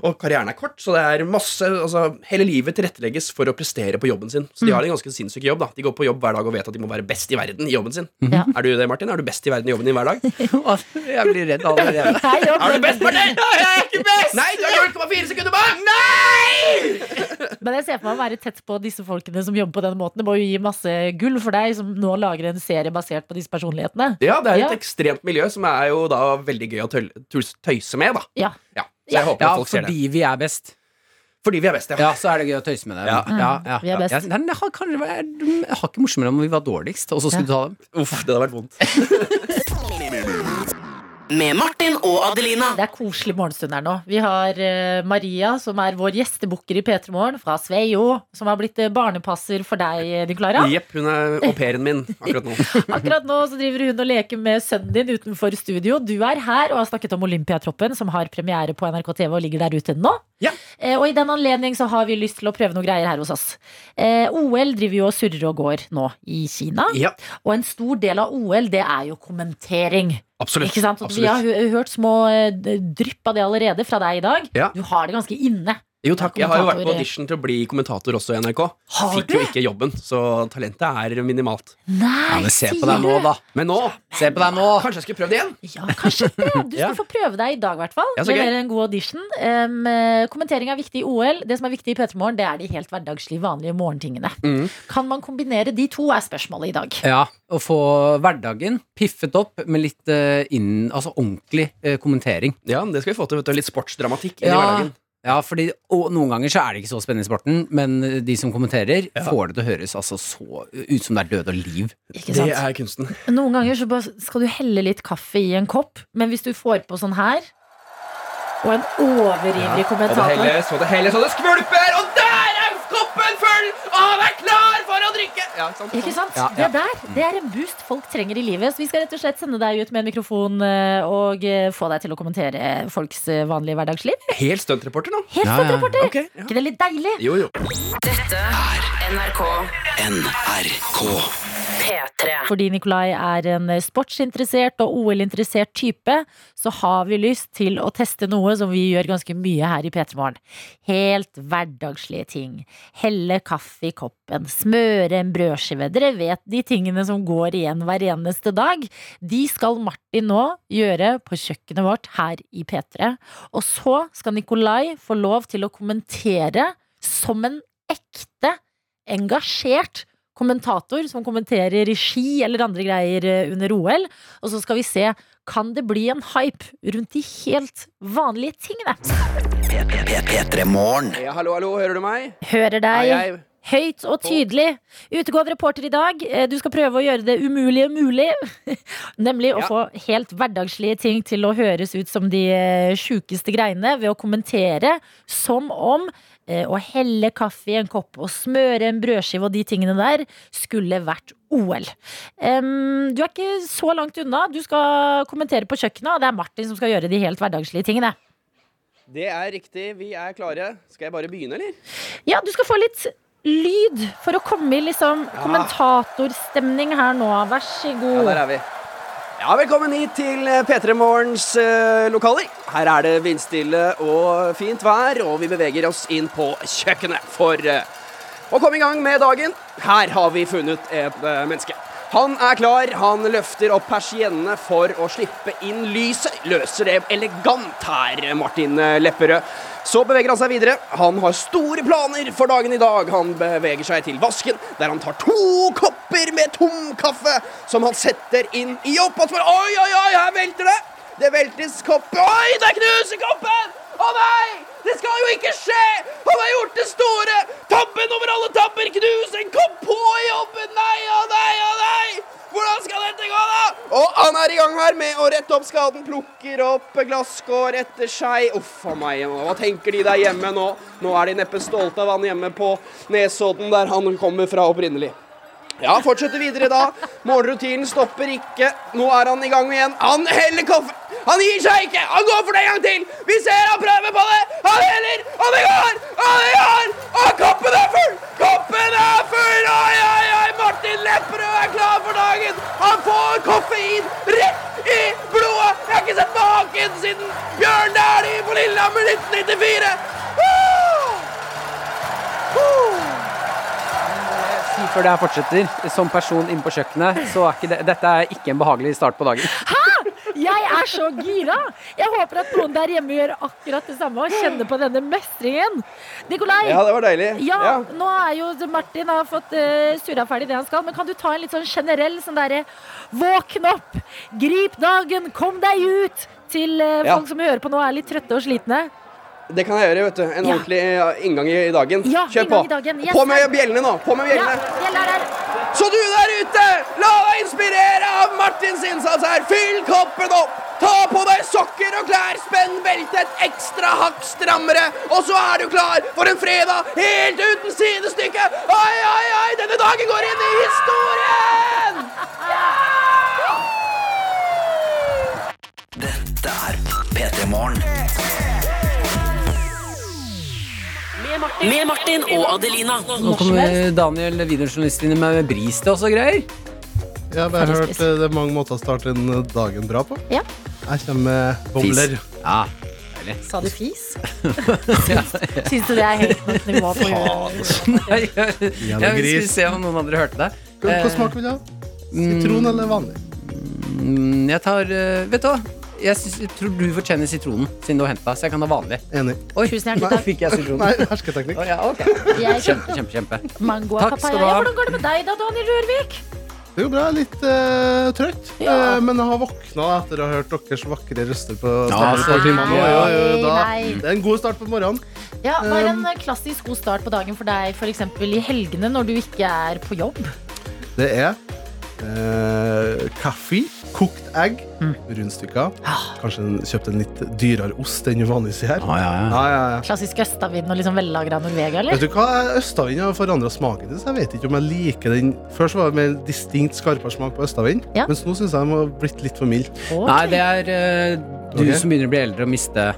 Og karrieren er kort, så det er masse altså, Hele livet tilrettelegges for å prestere på jobben sin. Så de har en ganske sinnssyk jobb. da De går på jobb hver dag og vet at de må være best i verden i jobben sin.
Ja.
Er du det, Martin? Er du best i verden i jobben din hver dag?
Jeg blir redd allerede.
Nei, ja,
Er du best, Martin? Nei, jeg er ikke best! Nei, du er 0,4 sekunder bak! Nei!
Men jeg ser for meg å være tett på disse folkene som jobber på den måten. Det må jo gi masse gull for liksom deg som nå lager en serie basert på disse personlighetene.
Ja, det er
Ja.
et ekstremt miljø som er jo da veldig gøy å tøl- tuls- tøyse med, da.
Ja.
Ja, så jeg håper
Ja,
at folk ser det.
fordi vi er best.
Fordi vi er best, ja.
Ja, så er det gøy å tøyse med det.
Ja.
Vi er best.
Jeg, nei, men det har, kanskje, vært- jeg har ikke morsommere om vi var dårligst, og så skulle du ta dem.
Uff, det hadde vært vondt.
Med Martin og Adelina.
Det er koselig morgenstund her nå. Vi har eh, Maria, som er vår gjestebukker i P3 Morgen, fra Sveio, som har blitt eh, barnepasser for deg, eh, Din Klara.
Jepp, hun er au pairen min akkurat nå.
Akkurat nå så driver hun og leker med sønnen din utenfor studio. Du er her og har snakket om Olympiatroppen, som har premiere på NRK TV og ligger der ute nå.
Ja.
Eh, og i den anledning så har vi lyst til å prøve noen greier her hos oss. Eh, OL driver jo og surrer og går nå i Kina.
Ja,
Og en stor del av OL, det er jo kommentering.
absolutt.
Ikke sant? Og Vi har
absolutt.
hø- hørt små eh, drypp av det allerede fra deg i dag.
Ja.
Du har det ganske inne.
Jo takk, Jeg har jo vært på
kommentator-
audition til å bli kommentator også i NRK.
Har
Fikk
du?
jo ikke jobben, så talentet er minimalt.
Nei,
Ja, men se på
sier
deg nå,
du?
da.
Men nå
Se på deg nå.
Kanskje jeg skal prøve det igjen?
Ja, kanskje det. Du skal
Ja.
få prøve deg i dag, i hvert fall.
Ja, så gøy.
Levere en god audition. Um, eh, kommentering er viktig i OL. Det som er viktig i P3 Morgen, det er de helt hverdagslige, vanlige morgentingene.
Mm.
Kan man kombinere de to, er spørsmålet i dag.
Ja, Å få hverdagen piffet opp med litt eh, inn, altså ordentlig eh, kommentering.
Ja, det skal vi få til. vet du Litt sportsdramatikk inn i
Ja,
hverdagen.
ja fordi, og noen ganger så er det ikke så spennende i sporten, men de som kommenterer, får det til å høres altså, så ut som det er død og liv.
Ikke
Det
sant?
er kunsten.
Noen ganger så bare skal du helle litt kaffe i en kopp, men hvis du får på sånn her og en overivrig
Og det
kommentator
helles, og det helles, og det skvulper, og der er koppen full! Og han er klar for å drikke! Ja, ikke sant?
Ikke sant?
Ja, ja.
Det der det er en boost folk trenger i livet. Så vi skal rett og slett sende deg ut med en mikrofon eh, og eh, få deg til å kommentere folks eh, vanlige hverdagsliv.
Helt stuntreporter nå.
Helt
Ja,
sant,
ja.
reporter!
Ok, ja.
Ikke det litt deilig?
Jo, jo.
NRK
NRK.
P3.
Fordi Nikolai er en eh, sportsinteressert og OL-interessert type, så har vi lyst til å teste noe som vi gjør ganske mye her i P3 Morgen. Helt hverdagslige ting. Helle kaffe i koppen, smøre en brødskive. Dere vet de tingene som går igjen hver eneste dag. De skal Martin nå gjøre på kjøkkenet vårt her i P3. Og så skal Nikolai få lov til å kommentere som en ekte engasjert kommentator som kommenterer ski eller andre greier eh, under OL. Og så skal vi se kan det bli en hype rundt de helt vanlige tingene.
P3 Morgen.
Ja, hallo, hallo, hører du meg?
Hører
Hei,
deg
hei.
høyt og tydelig. Utegående reporter i dag, eh, du skal prøve å gjøre det umulige mulig. Nemlig å
Ja.
få helt hverdagslige ting til å høres ut som de eh, sjukeste greiene ved å kommentere som om eh, å helle kaffe i en kopp og smøre en brødskive og de tingene der skulle vært OL. Em, du er ikke så langt unna. Du skal kommentere på kjøkkenet, og det er Martin som skal gjøre de helt hverdagslige tingene.
Det er riktig, vi er klare. Skal jeg bare begynne, eller?
Ja, du skal få litt lyd for å komme i liksom kommentatorstemning her nå. Vær så
Ja,
god.
der er vi. Ja, Velkommen hit til eh, P3 Morgens eh, lokaler. Her er det vindstille og fint vær, og vi beveger oss inn på kjøkkenet for eh, å komme i gang med dagen. Her har vi funnet et eh, menneske. Han er klar, han løfter opp persiennene for å slippe inn lyset. Løser det elegant her, Martin eh, Lepperød. Så beveger han seg videre. Han har store planer for dagen i dag. Han beveger seg til vasken, der han tar to kopper med tom kaffe, som han setter inn i oppvaskmaskinen. Oi, oi, oi, her velter det! Det veltes kopper. Oi, der knuser koppen! Å nei! Det skal jo ikke skje! Han har gjort det store! Tabben over alle tabber! Knus en kopp på jobben! Nei, å nei, å nei! Hvordan skal dette gå, da? Og han er i gang her med å rette opp skaden. Plukker opp glasskår etter seg. Uff a meg. Hva tenker de der hjemme nå? Nå er de neppe stolte av han hjemme på Nesodden, der han kommer fra opprinnelig. Ja, fortsetter videre da. Morgenrutinen stopper ikke. Nå er han i gang igjen. Han heller koffer... Han gir seg ikke! Han går for det en gang til! Vi ser han prøver på det! Han heller! Og det går! Og det går! Og koppen er full! Koppen er full! Oi, oi, oi! Martin Lepperød er klar for dagen! Han får koffein rett i blodet! Jeg har ikke sett maken siden Bjørn Dæhlie på Lillehammer 1994! Ah!
Før det her fortsetter, som person inne på kjøkkenet, så er ikke det, dette er ikke en behagelig start på dagen.
Hæ? Jeg er så gira! Jeg håper at noen der hjemme gjør akkurat det samme og kjenner på denne mestringen. Nikolai,
Ja, det var deilig.
Ja,
Ja.
nå er jo Martin har fått uh, surra ferdig det han skal, men kan du ta en litt sånn generell sånn derre Våkn opp! Grip dagen! Kom deg ut! Til eh,
Ja.
folk som hører på nå er litt trøtte og slitne.
Det kan jeg gjøre, vet du. En
Ja.
ordentlig eh, inngang i dagen.
Ja,
Kjør på.
inngang i dagen. Yes,
på med
sir.
bjellene nå. På med
Ja,
bjellene.
jeg er der.
Så du der ute, la deg inspirere av Martins innsats her. Fyll koppen opp. Ta på deg sokker og klær, spenn beltet et ekstra hakk strammere, og så er du klar for en fredag helt uten sidestykke. Oi, oi, oi, denne dagen går inn i historien!
Dette er P3 Morgen.
Med Martin og Adelina.
Nå kommer Daniel Wiener-journalisten inn med bris til oss og greier.
Jeg har bare hørt eh, det er mange måter å starte en eh, dagen bra på.
Ja.
Jeg kommer med bobler.
Eh.
Ja,
Sa du fis?
Ja.
Syns du det er helt nytt nivå på
Nei, jeg, jeg,
Jævla gris.
skulle se om noen andre hørte det.
Hva
Eh,
smak vil du ha? Sitron eller vanlig?
Mm, Jeg tar eh, Vet du hva? Jeg, syns- jeg tror du fortjener sitronen, siden du har henta, så jeg kan ha vanlig.
Enig.
Oi,
Tusen hjertelig
nå
takk.
fikk jeg sitronen.
Nei, hersketeknikk.
Å, ja, ok.
Jeg-
Kjempe, kjempe, kjempe.
Mango og
Takk skal
papaya.
du ha.
Ja, hvordan går det med deg da, Daniel Rørvik?
Det går bra. Litt eh, trøtt.
Ja.
Eh, men jeg har våkna etter å ha hørt deres vakre røster på
Ja, så
starten.
hyggelig.
Ja, ja, ja, da.
Nei.
Det er en god start på morgenen.
Ja, Hva er
Um,
en klassisk god start på dagen for deg f.eks. i helgene når du ikke er på jobb?
Det er eh, kaffe, kokt egg,
Mm.
rundstykker.
Ah.
Kanskje en- kjøpt en litt dyrere ost enn du vanligvis ser.
Ja, ja, ja.
Ja, ja, ja.
Klassisk østavind og liksom vellagra Norvegia,
Vet
eller?
du hva, Østavind har forandra smaken din, så jeg vet ikke om jeg liker den. Før så var det mer distinkt skarpere smak på østavind,
Ja.
mens nå syns jeg den har blitt litt for mild.
Ok.
Nei, det er eh, du
Ok.
som begynner å bli eldre og miste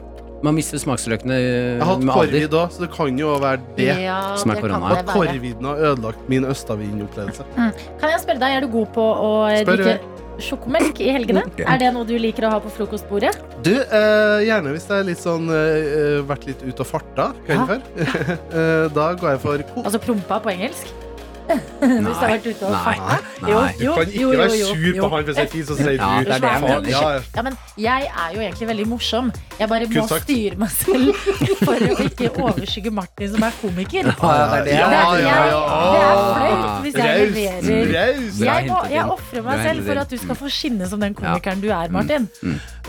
Man mister smaksløkene eh,
Jeg har hatt
med alder.
korvid òg, så det kan jo være det.
Ja,
som er
det
korona.
kan det
At
være.
korviden har ødelagt min østavind-opplevelse.
Kan jeg spørre deg, er du god på å eh,
Spør,
drikke sjokomelk i helgene? Er det noe du liker å ha på frokostbordet?
Du, eh, gjerne hvis det er litt sånn eh, eh, Vært litt ute og farta kvelden før. eh, da går jeg for ko-
Altså prompa på engelsk? Hvis du har vært ute og
Nei.
farta?
Nei.
Jo,
Du
jo,
kan ikke
jo, jo,
være
jo,
sur
jo.
på han hvis det er fint, så sier du
Ja, det er det jeg
faen.
mener.
Ja, ja.
Ja, men jeg er jo egentlig veldig morsom. Jeg bare må
Kun sagt.
styre meg selv for å ikke overskygge Martin, som er komiker.
Ja, det er det.
Ja,
Det er,
ja,
jeg, det er flaut
ja.
hvis jeg
Raust.
leverer.
Raust.
Bra
Jeg, må,
hentet inn.
jeg ofrer
Bra
meg selv
hentet
for
inn.
at du skal få skinne som den komikeren du er, Martin.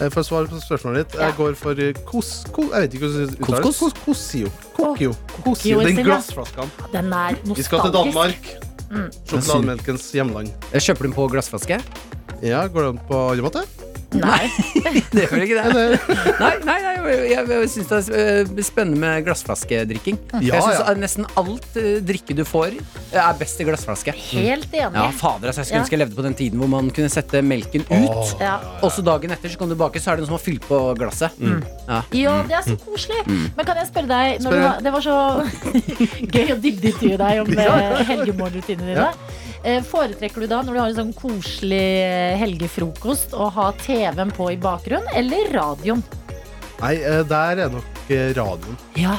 Eh, For å svare på spørsmålet ditt, jeg går for eh, kos... Ko, jeg vet ikke hvordan det uttales.
Couscous?
Kos- Kosio. Kokio. Kosio. Den
Silja.
glassflaska.
Den er nostalgisk. Mm.
Vi skal til Danmark. Sjokolademelkens hjemland.
Jeg Eh, kjøper den på glassflaske.
Ja, går den på alle måter?
Nei.
Det gjør ikke det. Nei, nei, nei jeg, jeg syns det er eh, spennende med glassflaskedrikking.
Ja,
jeg syns
ja.
at nesten alt eh, drikke du får, eh, er best i glassflaske.
Helt
Ja,
enig.
fader, altså, Jeg skulle
Ja.
ønske jeg levde på den tiden hvor man kunne sette melken ut.
Ja.
Også dagen etter så kom du tilbake, så er det noen som har fylt på glasset. Ja.
Jo, det er så
Mm.
koselig. Men kan jeg spørre deg når
Spør.
du var, Det var så gøy å dybdeintervjue deg om eh, helgemorgenrutinene dine. Eh, Foretrekker du da, når du har en sånn koselig eh, helgefrokost, å ha TV-en på i bakgrunnen, eller radioen?
Nei, eh, der er nok eh, radioen.
Ja.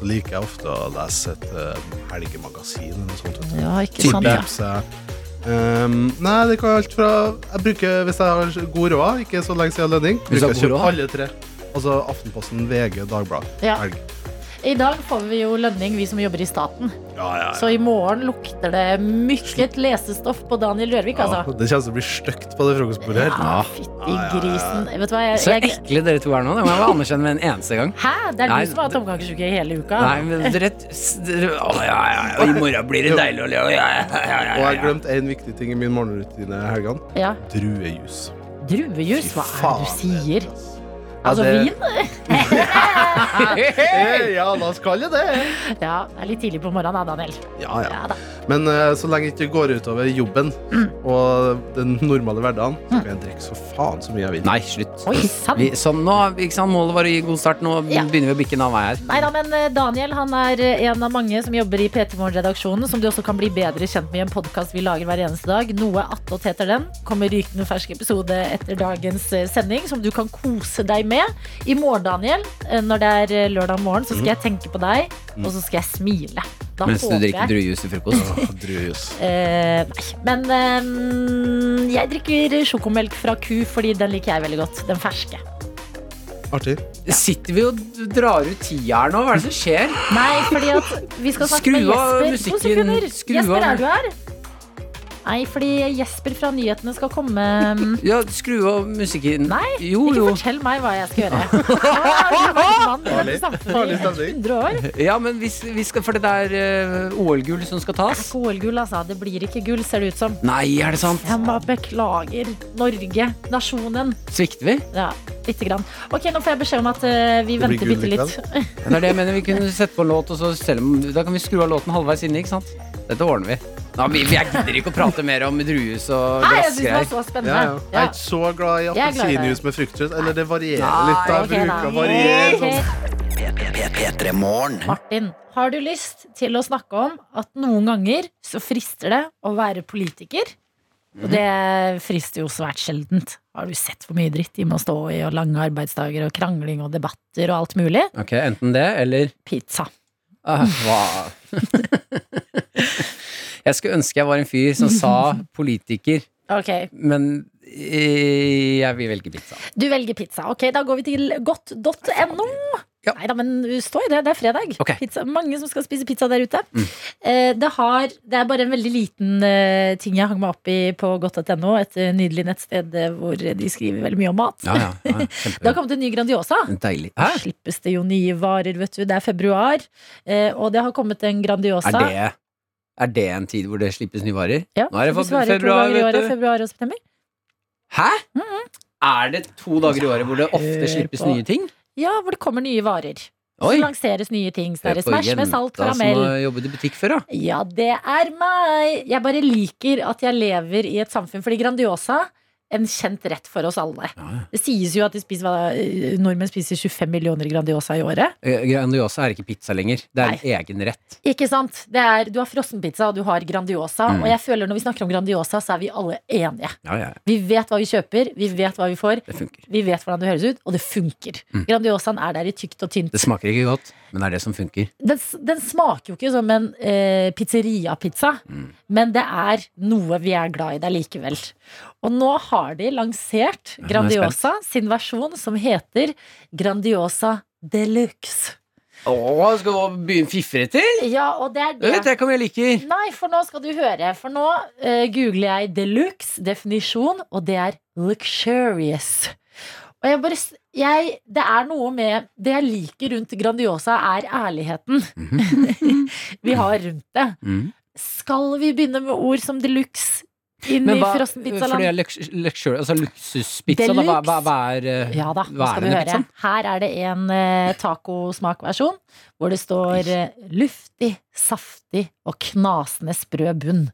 Så liker jeg ofte å lese et eh, helgemagasin eller noe sånt. vet du.
Ja, ikke
Type
sant, ja.
Ibse. Um, nei, det kan være alt fra Jeg bruker, Hvis jeg har god råd, ikke så lenge siden lønning,
Hvis du har god
bruker jeg å kjøpe
råd?
alle tre. Altså Aftenposten, VG, Dagbladet.
Ja.
Helg.
I dag får vi jo lønning, vi som jobber i staten.
Ja, ja, ja.
Så i morgen lukter det mykket lesestoff på Daniel Rørvik,
Ja,
altså.
det kommer til å bli stygt på det frokostbordet her.
Ja,
I grisen. Vet du hva, jeg,
Så
jeg
ekle dere to er nå. Det må jeg bare anerkjenne med en eneste gang.
Hæ? Det er
Nei,
du som har hatt omgangsuke hele uka?
Nei, men dere, s- dere å, ja, ja, ja. I morgen blir det deilig å leve. Ja, ja, ja, ja, ja.
Og jeg har glemt en viktig ting i min morgenrutine i helgene.
Ja.
Druejus.
Druejus? Hva er det du sier?
Ja,
Altså
det- Eh,
vin?
ja, la oss kalle det
Ja, det er litt tidlig på morgenen da, Daniel.
Ja, ja. Men eh, så lenge det ikke går utover jobben
Mm.
og den normale hverdagen, så kan jeg drikke så faen så mye jeg vil.
Nei, slutt.
Oi, sant.
Vi, sånn, nå, ikke sant? Målet var å gi god start. Nå begynner vi å bikke en annen vei her.
Nei da, men eh, Daniel han er eh, en av mange som jobber i PT Morgen-redaksjonen, som du også kan bli bedre kjent med i en podkast vi lager hver eneste dag. Noe attåt heter den. Kommer rykende fersk episode etter dagens eh, sending, som du kan kose deg med. I morgen, Daniel, eh, når det er eh, lørdag morgen, så skal jeg tenke på deg, og så skal jeg smile. Da
Mhm. Mens du
håper
drikker
jeg-
druejus til frokost.
druejus.
Eh, nei, men eh, jeg drikker sjokomelk fra ku, fordi den liker jeg veldig godt. Den ferske.
Artig.
Sitter vi og d- drar ut tida her nå? Hva er det som skjer?
Nei, fordi at vi skal snakke med
Skru av
Jesper.
musikken.
To sekunder.
Skru
Jesper,
av.
er du her? Nei, fordi Jesper fra nyhetene skal komme
Ja, skru av musikken.
Nei,
jo,
ikke
jo.
fortell meg hva jeg skal gjøre. Nå har du vært mann i dette samfunnet i 100 år.
Ja, men hvis vi skal, for det er eh, OL-gull som skal
Det er
tas.
ikke OL-gull, altså. Det blir ikke gull, ser det ut som.
Nei, er det sant?
Jeg bare beklager. Norge, nasjonen.
Svikter vi?
Ja, lite grann. Ok, nå får jeg beskjed om at eh, vi
Det blir
venter
gull
bitte litt.
Det er det jeg mener. Vi kunne sette på en låt, og så selv om, da kan vi skru av låten halvveis inne. ikke sant? Dette ordner vi. Nå, vi, vi jeg gidder ikke å prate mer om druehus og
Nei, jeg synes det var
gressgreier.
så spennende.
Ja, ja. Jeg er ikke så glad i
Jeg er glad i det.
appelsinjuice med fruktjuice. Eller det varierer
Nei,
litt. Da. Jeg
ok, da.
bruker å variere sånn.
P3morgen.
Martin, har du lyst til å snakke om at noen ganger så frister det å være politiker? Og det frister jo svært sjeldent. Har du sett hvor mye dritt de må stå i, og lange arbeidsdager og krangling og debatter og alt mulig?
Ok, Enten det eller
Pizza.
Ah, hva? jeg skulle ønske jeg var en fyr som sa politiker,
Ok,
men eh, jeg vil velge pizza.
du velger pizza. Ok, da går vi til godt.no. Nei da, men stå i det. Det er fredag.
Ok. Mm.
Pizza, mange som skal spise pizza der ute. Eh, Det, har, det er bare en veldig liten eh, ting jeg hang meg opp i på godt.no. Et eh, nydelig nettsted eh, hvor de skriver veldig mye om mat.
Ja, ja, ja,
Det har kommet en ny Grandiosa.
Deilig.
Da Slippes det jo nye varer, vet du. Det er februar, eh, og det har kommet en Grandiosa.
Er det, er det en tid hvor det slippes nye varer?
Ja,
Nå er det
slippes varer to
fe- februar,
dager i året,
vet du.
Februar og september.
Hæ? Er det to dager i året hvor det ofte slippes
på.
nye ting?
Ja, hvor det kommer nye varer.
Oi.
Så lanseres nye ting. Så er det
Hør på
Smash med salt
jenta Som har
karamell.
jobbet i butikk før, da.
Ja, det er meg! Jeg bare liker at jeg lever i et samfunn, fordi Grandiosa en kjent rett for oss alle. Det sies jo at de spiser, hva- eh, nordmenn spiser 25 millioner Grandiosa i året.
Eh, Grandiosa er ikke pizza lenger. Det er en egen rett.
Ikke sant? Det er, du har frossenpizza, og du har Grandiosa.
Mm.
Og jeg føler når vi snakker om Grandiosa, så er vi alle enige.
Ja, ja.
Vi vet hva vi kjøper, vi vet hva vi får,
Det funker.
vi vet hvordan det høres ut, og det funker.
Mm.
Grandiosaen er der i tykt og tynt.
Det smaker ikke godt, men det er det som funker.
Den, s- den smaker jo ikke som en eh, pizzeria-pizza,
Mm.
men det er noe vi er glad i der likevel. Og nå har de lansert
nå er jeg
Grandiosa sin versjon som heter Grandiosa Deluxe.
Å, skal vi begynne å fifre til?
Ja, og det er
Det
det.
vet jeg ikke om jeg liker.
Nei, for nå skal du høre. For nå eh, googler jeg deluxe definisjon, og det er luxurious. Og jeg bare s- jeg, Det er noe med Det jeg liker rundt Grandiosa, er ærligheten
Mhm.
vi har rundt det.
Mm.
Skal vi begynne med ord som deluxe inn
Men
i
hva, for det er
frossenpizzaland?
lux, luxur, altså luksuspizza, da, hva, hva, hva er eh,
Ja da, nå
hva
skal
er
du
denne
høre.
pizzaen?
Her er det en eh, tacosmakversjon hvor det står eh, luftig, saftig og knasende sprø bunn.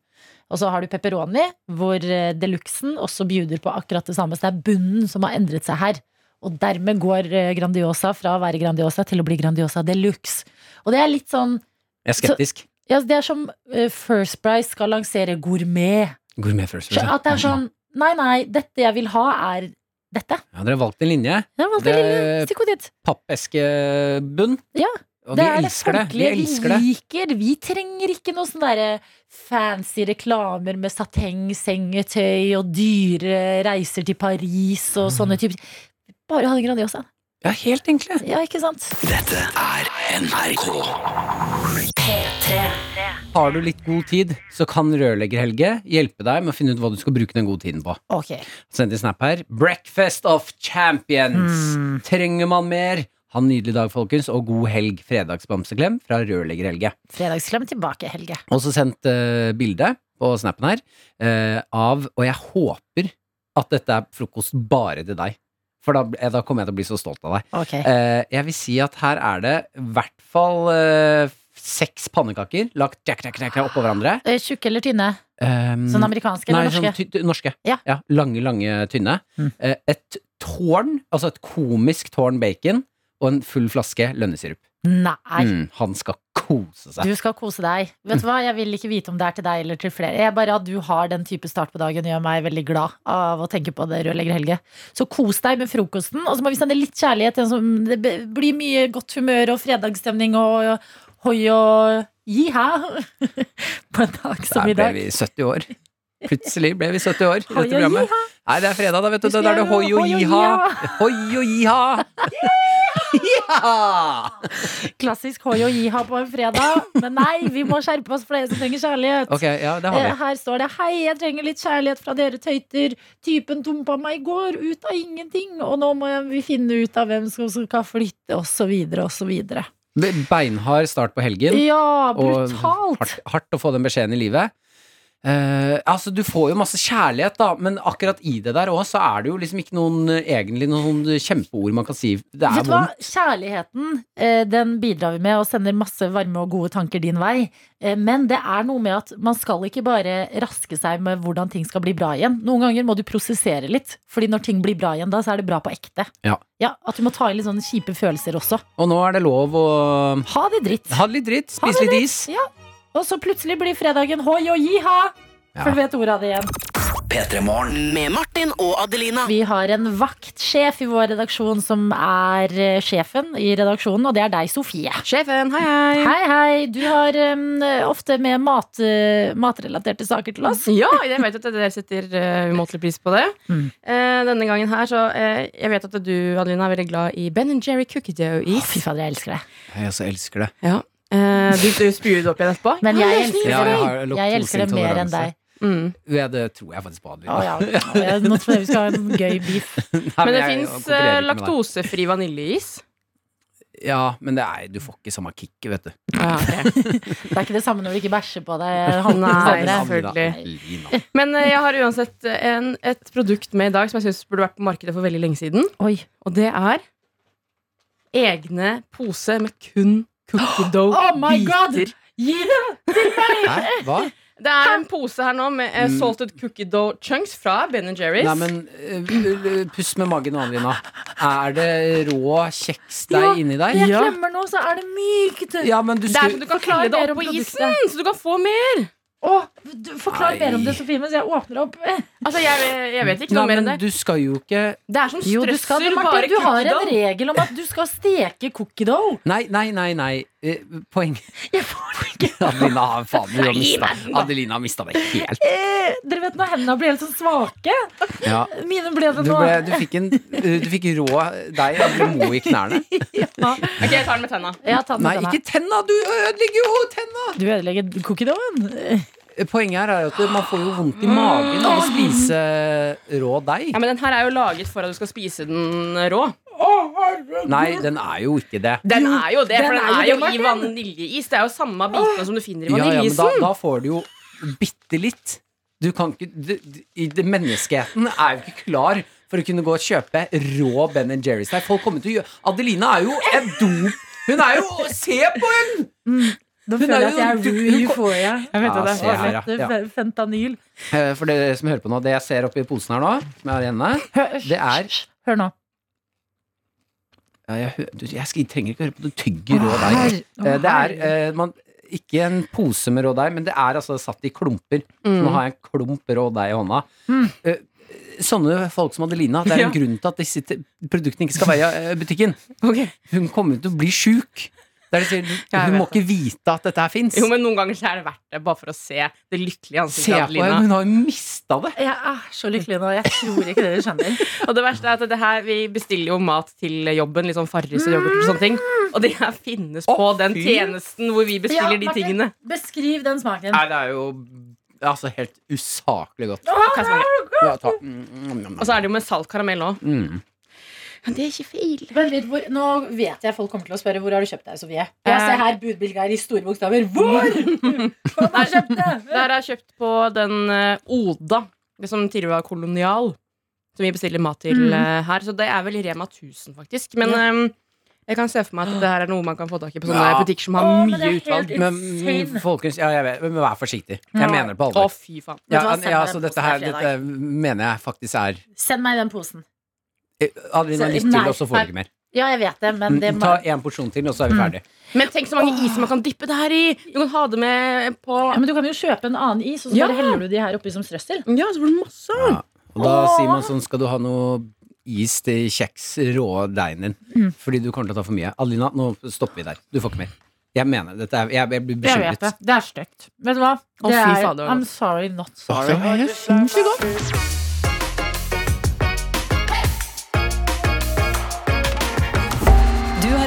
Og så har du pepperoni, hvor eh, deluxen også bjuder på akkurat det samme. Så det er bunnen som har endret seg her. Og dermed går eh, Grandiosa fra å være Grandiosa til å bli Grandiosa deluxe. Og det er litt sånn
Jeg er skeptisk.
Ja, det er som eh, First Price skal lansere gourmet.
Gourmet first.
Skjø- At det er sånn Nei, nei, dette jeg vil ha, er dette.
Ja, dere har valgt en linje.
Det er vanskelig. lille. Stikk hodet dit.
Pappeskebunn.
Ja.
Og vi elsker det. Vi
folkelige
elsker det.
Vi liker. Vi trenger ikke noe sånn derre fancy reklamer med sateng, sengetøy og dyre reiser til Paris og
Mm.
sånne typer. Bare ha en Grandiosa.
Ja, helt enkle.
Ja, ikke sant?
Dette er NRK.
Har du litt god tid, så kan rørlegger Helge hjelpe deg med å finne ut hva du skal bruke den gode tiden på.
Ok.
Send en snap her. Breakfast of champions!
Hmm.
Trenger man mer? Ha en nydelig dag, folkens, og god helg. Fredagsbamseklem fra rørlegger Helge.
Fredagsklem tilbake, Helge.
Og så sendt uh, bilde på snappen her eh, av Og jeg håper at dette er frokost bare til deg. For da, eh, da kommer jeg til å bli så stolt av deg.
Ok.
Eh, jeg vil si at her er det i hvert fall eh, seks pannekaker lagt jack, jack, jack, jack oppå hverandre.
Eh, Tjukke eller tynne?
Um,
Sånn amerikanske eller
nei,
norske?
Sånn, ty- ty- norske.
Ja. Mm.
lange, lange, tynne. Eh, et tårn, altså et komisk tårn bacon, og en full flaske lønnesirup.
Nei.
Mm, han skal kose seg.
Du skal kose deg. Vet du hva, Jeg vil ikke vite om det er til deg eller til flere. Jeg bare At du har den type start på dagen, gjør meg veldig glad av å tenke på det, rørlegger Helge. Så kos deg med frokosten, og så må vi sende litt kjærlighet til en som Det b- blir mye godt humør og fredagsstemning og hoi og jiha på en dag som i
Der ble
dag.
vi 70 år. Plutselig ble vi 70 år.
Hoi
i
og
Dette programmet.
jiha.
Nei, det er fredag, da, vet du.
Husker
Da er det
jeg
hoi og
hoi og
jiha.
jiha.
Hoi og jiha. Jiha!
Klassisk hoi og jiha på en fredag. Men nei, vi må skjerpe oss for dere som trenger kjærlighet.
Ok, ja, det har
Eh,
vi.
Her står det 'Hei, jeg trenger litt kjærlighet fra dere tøyter'. 'Typen dumpa meg i går, ut av ingenting', og 'nå må jeg- vi finne ut av hvem som skal flytte', og så videre, og så videre.
Be- Beinhard start på helgen.
Ja,
Og
brutalt!
hardt, hardt å få den beskjeden i livet. Eh, altså, Du får jo masse kjærlighet, da, men akkurat i det der òg, så er det jo liksom ikke noen eh, egentlig noen kjempeord man kan si. Det er
Vet du hva?
vondt.
Kjærligheten eh, den bidrar vi med og sender masse varme og gode tanker din vei. Eh, Men det er noe med at man skal ikke bare raske seg med hvordan ting skal bli bra igjen. Noen ganger må du prosessere litt, Fordi når ting blir bra igjen da, så er det bra på ekte.
Ja.
Ja, At du må ta inn litt sånne kjipe følelser også.
Og nå er det lov å
Ha det dritt.
Ha det litt dritt,
Ha det
spise litt
dritt.
is.
Ja. Og så plutselig blir fredagen hoi og jiha! For du vet ordet av det igjen.
Med Martin og Adelina.
Vi har en vaktsjef i vår redaksjon som er eh, sjefen i redaksjonen, og det er deg, Sofie.
Sjefen, hei, hei.
Hei, hei. Du har em, ofte med mat, eh, matrelaterte saker til oss.
Ja, jeg vet at dere setter eh, umåtelig pris på det. Eh, denne gangen her, så eh, Jeg vet at du, Adelina, er veldig glad i Ben Jerry cookie dough-is.
Fy fader, jeg elsker det.
Jeg også elsker det.
Ja. Eh, du, du spyr det opp igjen etterpå?
Men jeg elsker
Ja, jeg har
det. Jeg elsker det mer enn deg.
Mm.
Ja, det tror jeg faktisk på, Adelina.
Å, ja. Jeg- Nå tror jeg vi skal ha en gøy beef.
Nei,
men det eh,
jeg
fins
konkurrerer ikke med deg.
laktosefri vaniljeis.
Ja, men det er, du får ikke samme kicket, vet du.
Det er ikke det samme når du ikke bæsjer på deg. eh, halvtimen
Nei,
senere.
selvfølgelig.
Adelina.
Men eh, jeg har uansett en, et produkt med i dag som jeg syns burde vært på markedet for veldig lenge siden. Og det er egne pose med kun cookie
Oh my god!
dough-biter.
Gi det!
Hæ? Hva?
Det er en pose her nå med eh,
Mm.
salted cookie dough chunks fra Ben Jerry's.
Nei, men eh, puss med magen nå, Adelina. Er det rå kjekksdeig inni der?
Jeg klemmer nå, så er det mykt.
Ja, men du
det er
skulle
som du kan klare det
mer
opp
om
på isen,
produktet.
så du kan få mer.
Åh, du- forklar
Nei.
mer om det, Sofie, mens jeg åpner opp.
Altså, jeg, jeg vet ikke noe
Nei,
mer enn
men
det.
Du skal jo ikke
Det er som
Jo, du, skal, det,
strøssel, bare
Martin, du har
cookie
en
dough.
regel om at du skal steke cookie dough.
Nei, nei, nei. nei. Eh, Poeng
Jeg får det ikke.
Adelina har faen du har
Gi
mista.
meg den, da.
Adelina har mista det helt.
Eh, Dere vet når hendene blir helt sånn svake?
Ja.
Mine sånn ble
Du,
det nå.
ble, du, fikk en, eh, du fikk rå deig og ble mo i knærne.
Ok, jeg tar den med tenna.
Ja, ta den
Nei,
til meg.
ikke tenna! Du ødelegger jo tenna!
Du ødelegger cookie doughen.
Poenget her er jo at man får jo vondt i magen av å spise rå deig.
Ja, men den her er jo laget for at du skal spise den rå.
Nei, den er jo ikke det.
Den er jo det, for
den er
den
jo
er jo
det,
i
Martin.
vaniljeis. Det er jo samme bitene som du finner
Ja, ja,
i
men da,
vaniljeisen.
da får du jo bitte litt. Du kan ikke det- det- i det- Menneskeheten er jo ikke klar for å kunne gå og kjøpe rå Ben Jerry's der. Folk kommer til å gjøre Adelina er jo et dop. Hun er jo Se på henne!
Nå
Hun
føler
er
jeg at jeg er
jo-
ru i euforia.
Jeg vet
Ja,
at det
se
er
her,
Dette
ja. Ja.
fe- Altså, Fentanyl.
Eh, For dere som hører på nå, det jeg ser oppi posen her nå, som jeg har i hendene,
Hør,
det er
hør nå.
ja, jeg, hø- du, jeg skal- jeg trenger ikke høre på, du tygger rå deig. Eh, Det er eh, man ikke en pose med rå deig, men det er altså satt i klumper. Så
Mm.
nå har jeg en klump rå deig i hånda.
Mm.
Eh, Sånne folk som Adelina, det er
Ja.
en grunn til at disse te- produktene ikke skal være i eh, butikken. Hun kommer til å bli sjuk. Det er det jeg sier,
Jeg
Hun
vet
må ikke vite at dette her fins.
Jo, men Noen ganger så er det verdt det, bare for å se det lykkelige
Se
ansiktet
på
til
henne, hun
Adelina.
har jo mista det.
Jeg er så lykkelig nå. Jeg tror ikke dere skjønner.
Og det verste er at det her, Vi bestiller jo mat til jobben, litt sånn Farris og yoghurt og sånne ting. Og det her finnes på den tjenesten hvor vi bestiller de
Martin,
tingene.
Beskriv den smaken.
Nei, det er jo altså helt usaklig godt.
Hva er smaken?
Ja, ta. Mm, mm, mm,
Og så er det jo med salt karamell òg.
mm.
Det er ikke feil.
Vent litt, hvor, nå vet jeg folk kommer til å spørre hvor har du kjøpt deg, Sofie. Ja, se her, budbilgeir i store bokstaver. Hvor?!
Det her er kjøpt på den eh, Oda, det som tidligere var kolonial, som vi bestiller mat til
Mm.
eh, her. Så det er vel Rema 1000, faktisk. Men
Ja.
ehm, jeg kan se for meg at det her er noe man kan få tak i på sånne
Ja.
butikker som har
Å, men det er
mye
helt
utvalg.
insane.
Men folkens, ja, jeg vet, men vær forsiktig. Jeg
Ja.
mener det på alvor.
Å, fy faen.
Vet
Ja,
du hva, send
ja,
meg
så
den
dette
posten
her
her fredag.
dette eh, mener jeg faktisk er
Send meg den posen.
Eh, Adelina,
Så-
litt til,
nei,
og så får
nei.
du ikke mer.
Ja, jeg vet det, men det Mm.
Mm,
må
Ta en porsjon til, og så er vi ferdige.
Men tenk så mange is man kan dyppe det her i! Du kan ha det med på
ja, Men du kan jo kjøpe en annen is, og så
Ja.
bare heller du de her oppi som strøssel.
Ja, så blir det masse.
Og da sier man sånn, skal du ha noe is til kjeks, rå deigen din?
Mm.
Fordi du kommer til å ta for mye. Adelina, nå stopper vi der. Du får ikke mer. Jeg mener det. Dette er, jeg, jeg blir
Jeg vet det.
bekymret.
Det er stygt. Vet du hva?
Å,
Det
fy
er,
fader, det var
I'm
altså.
godt.
sorry, not sorry.
Det var helt
sinnssykt godt.
Du har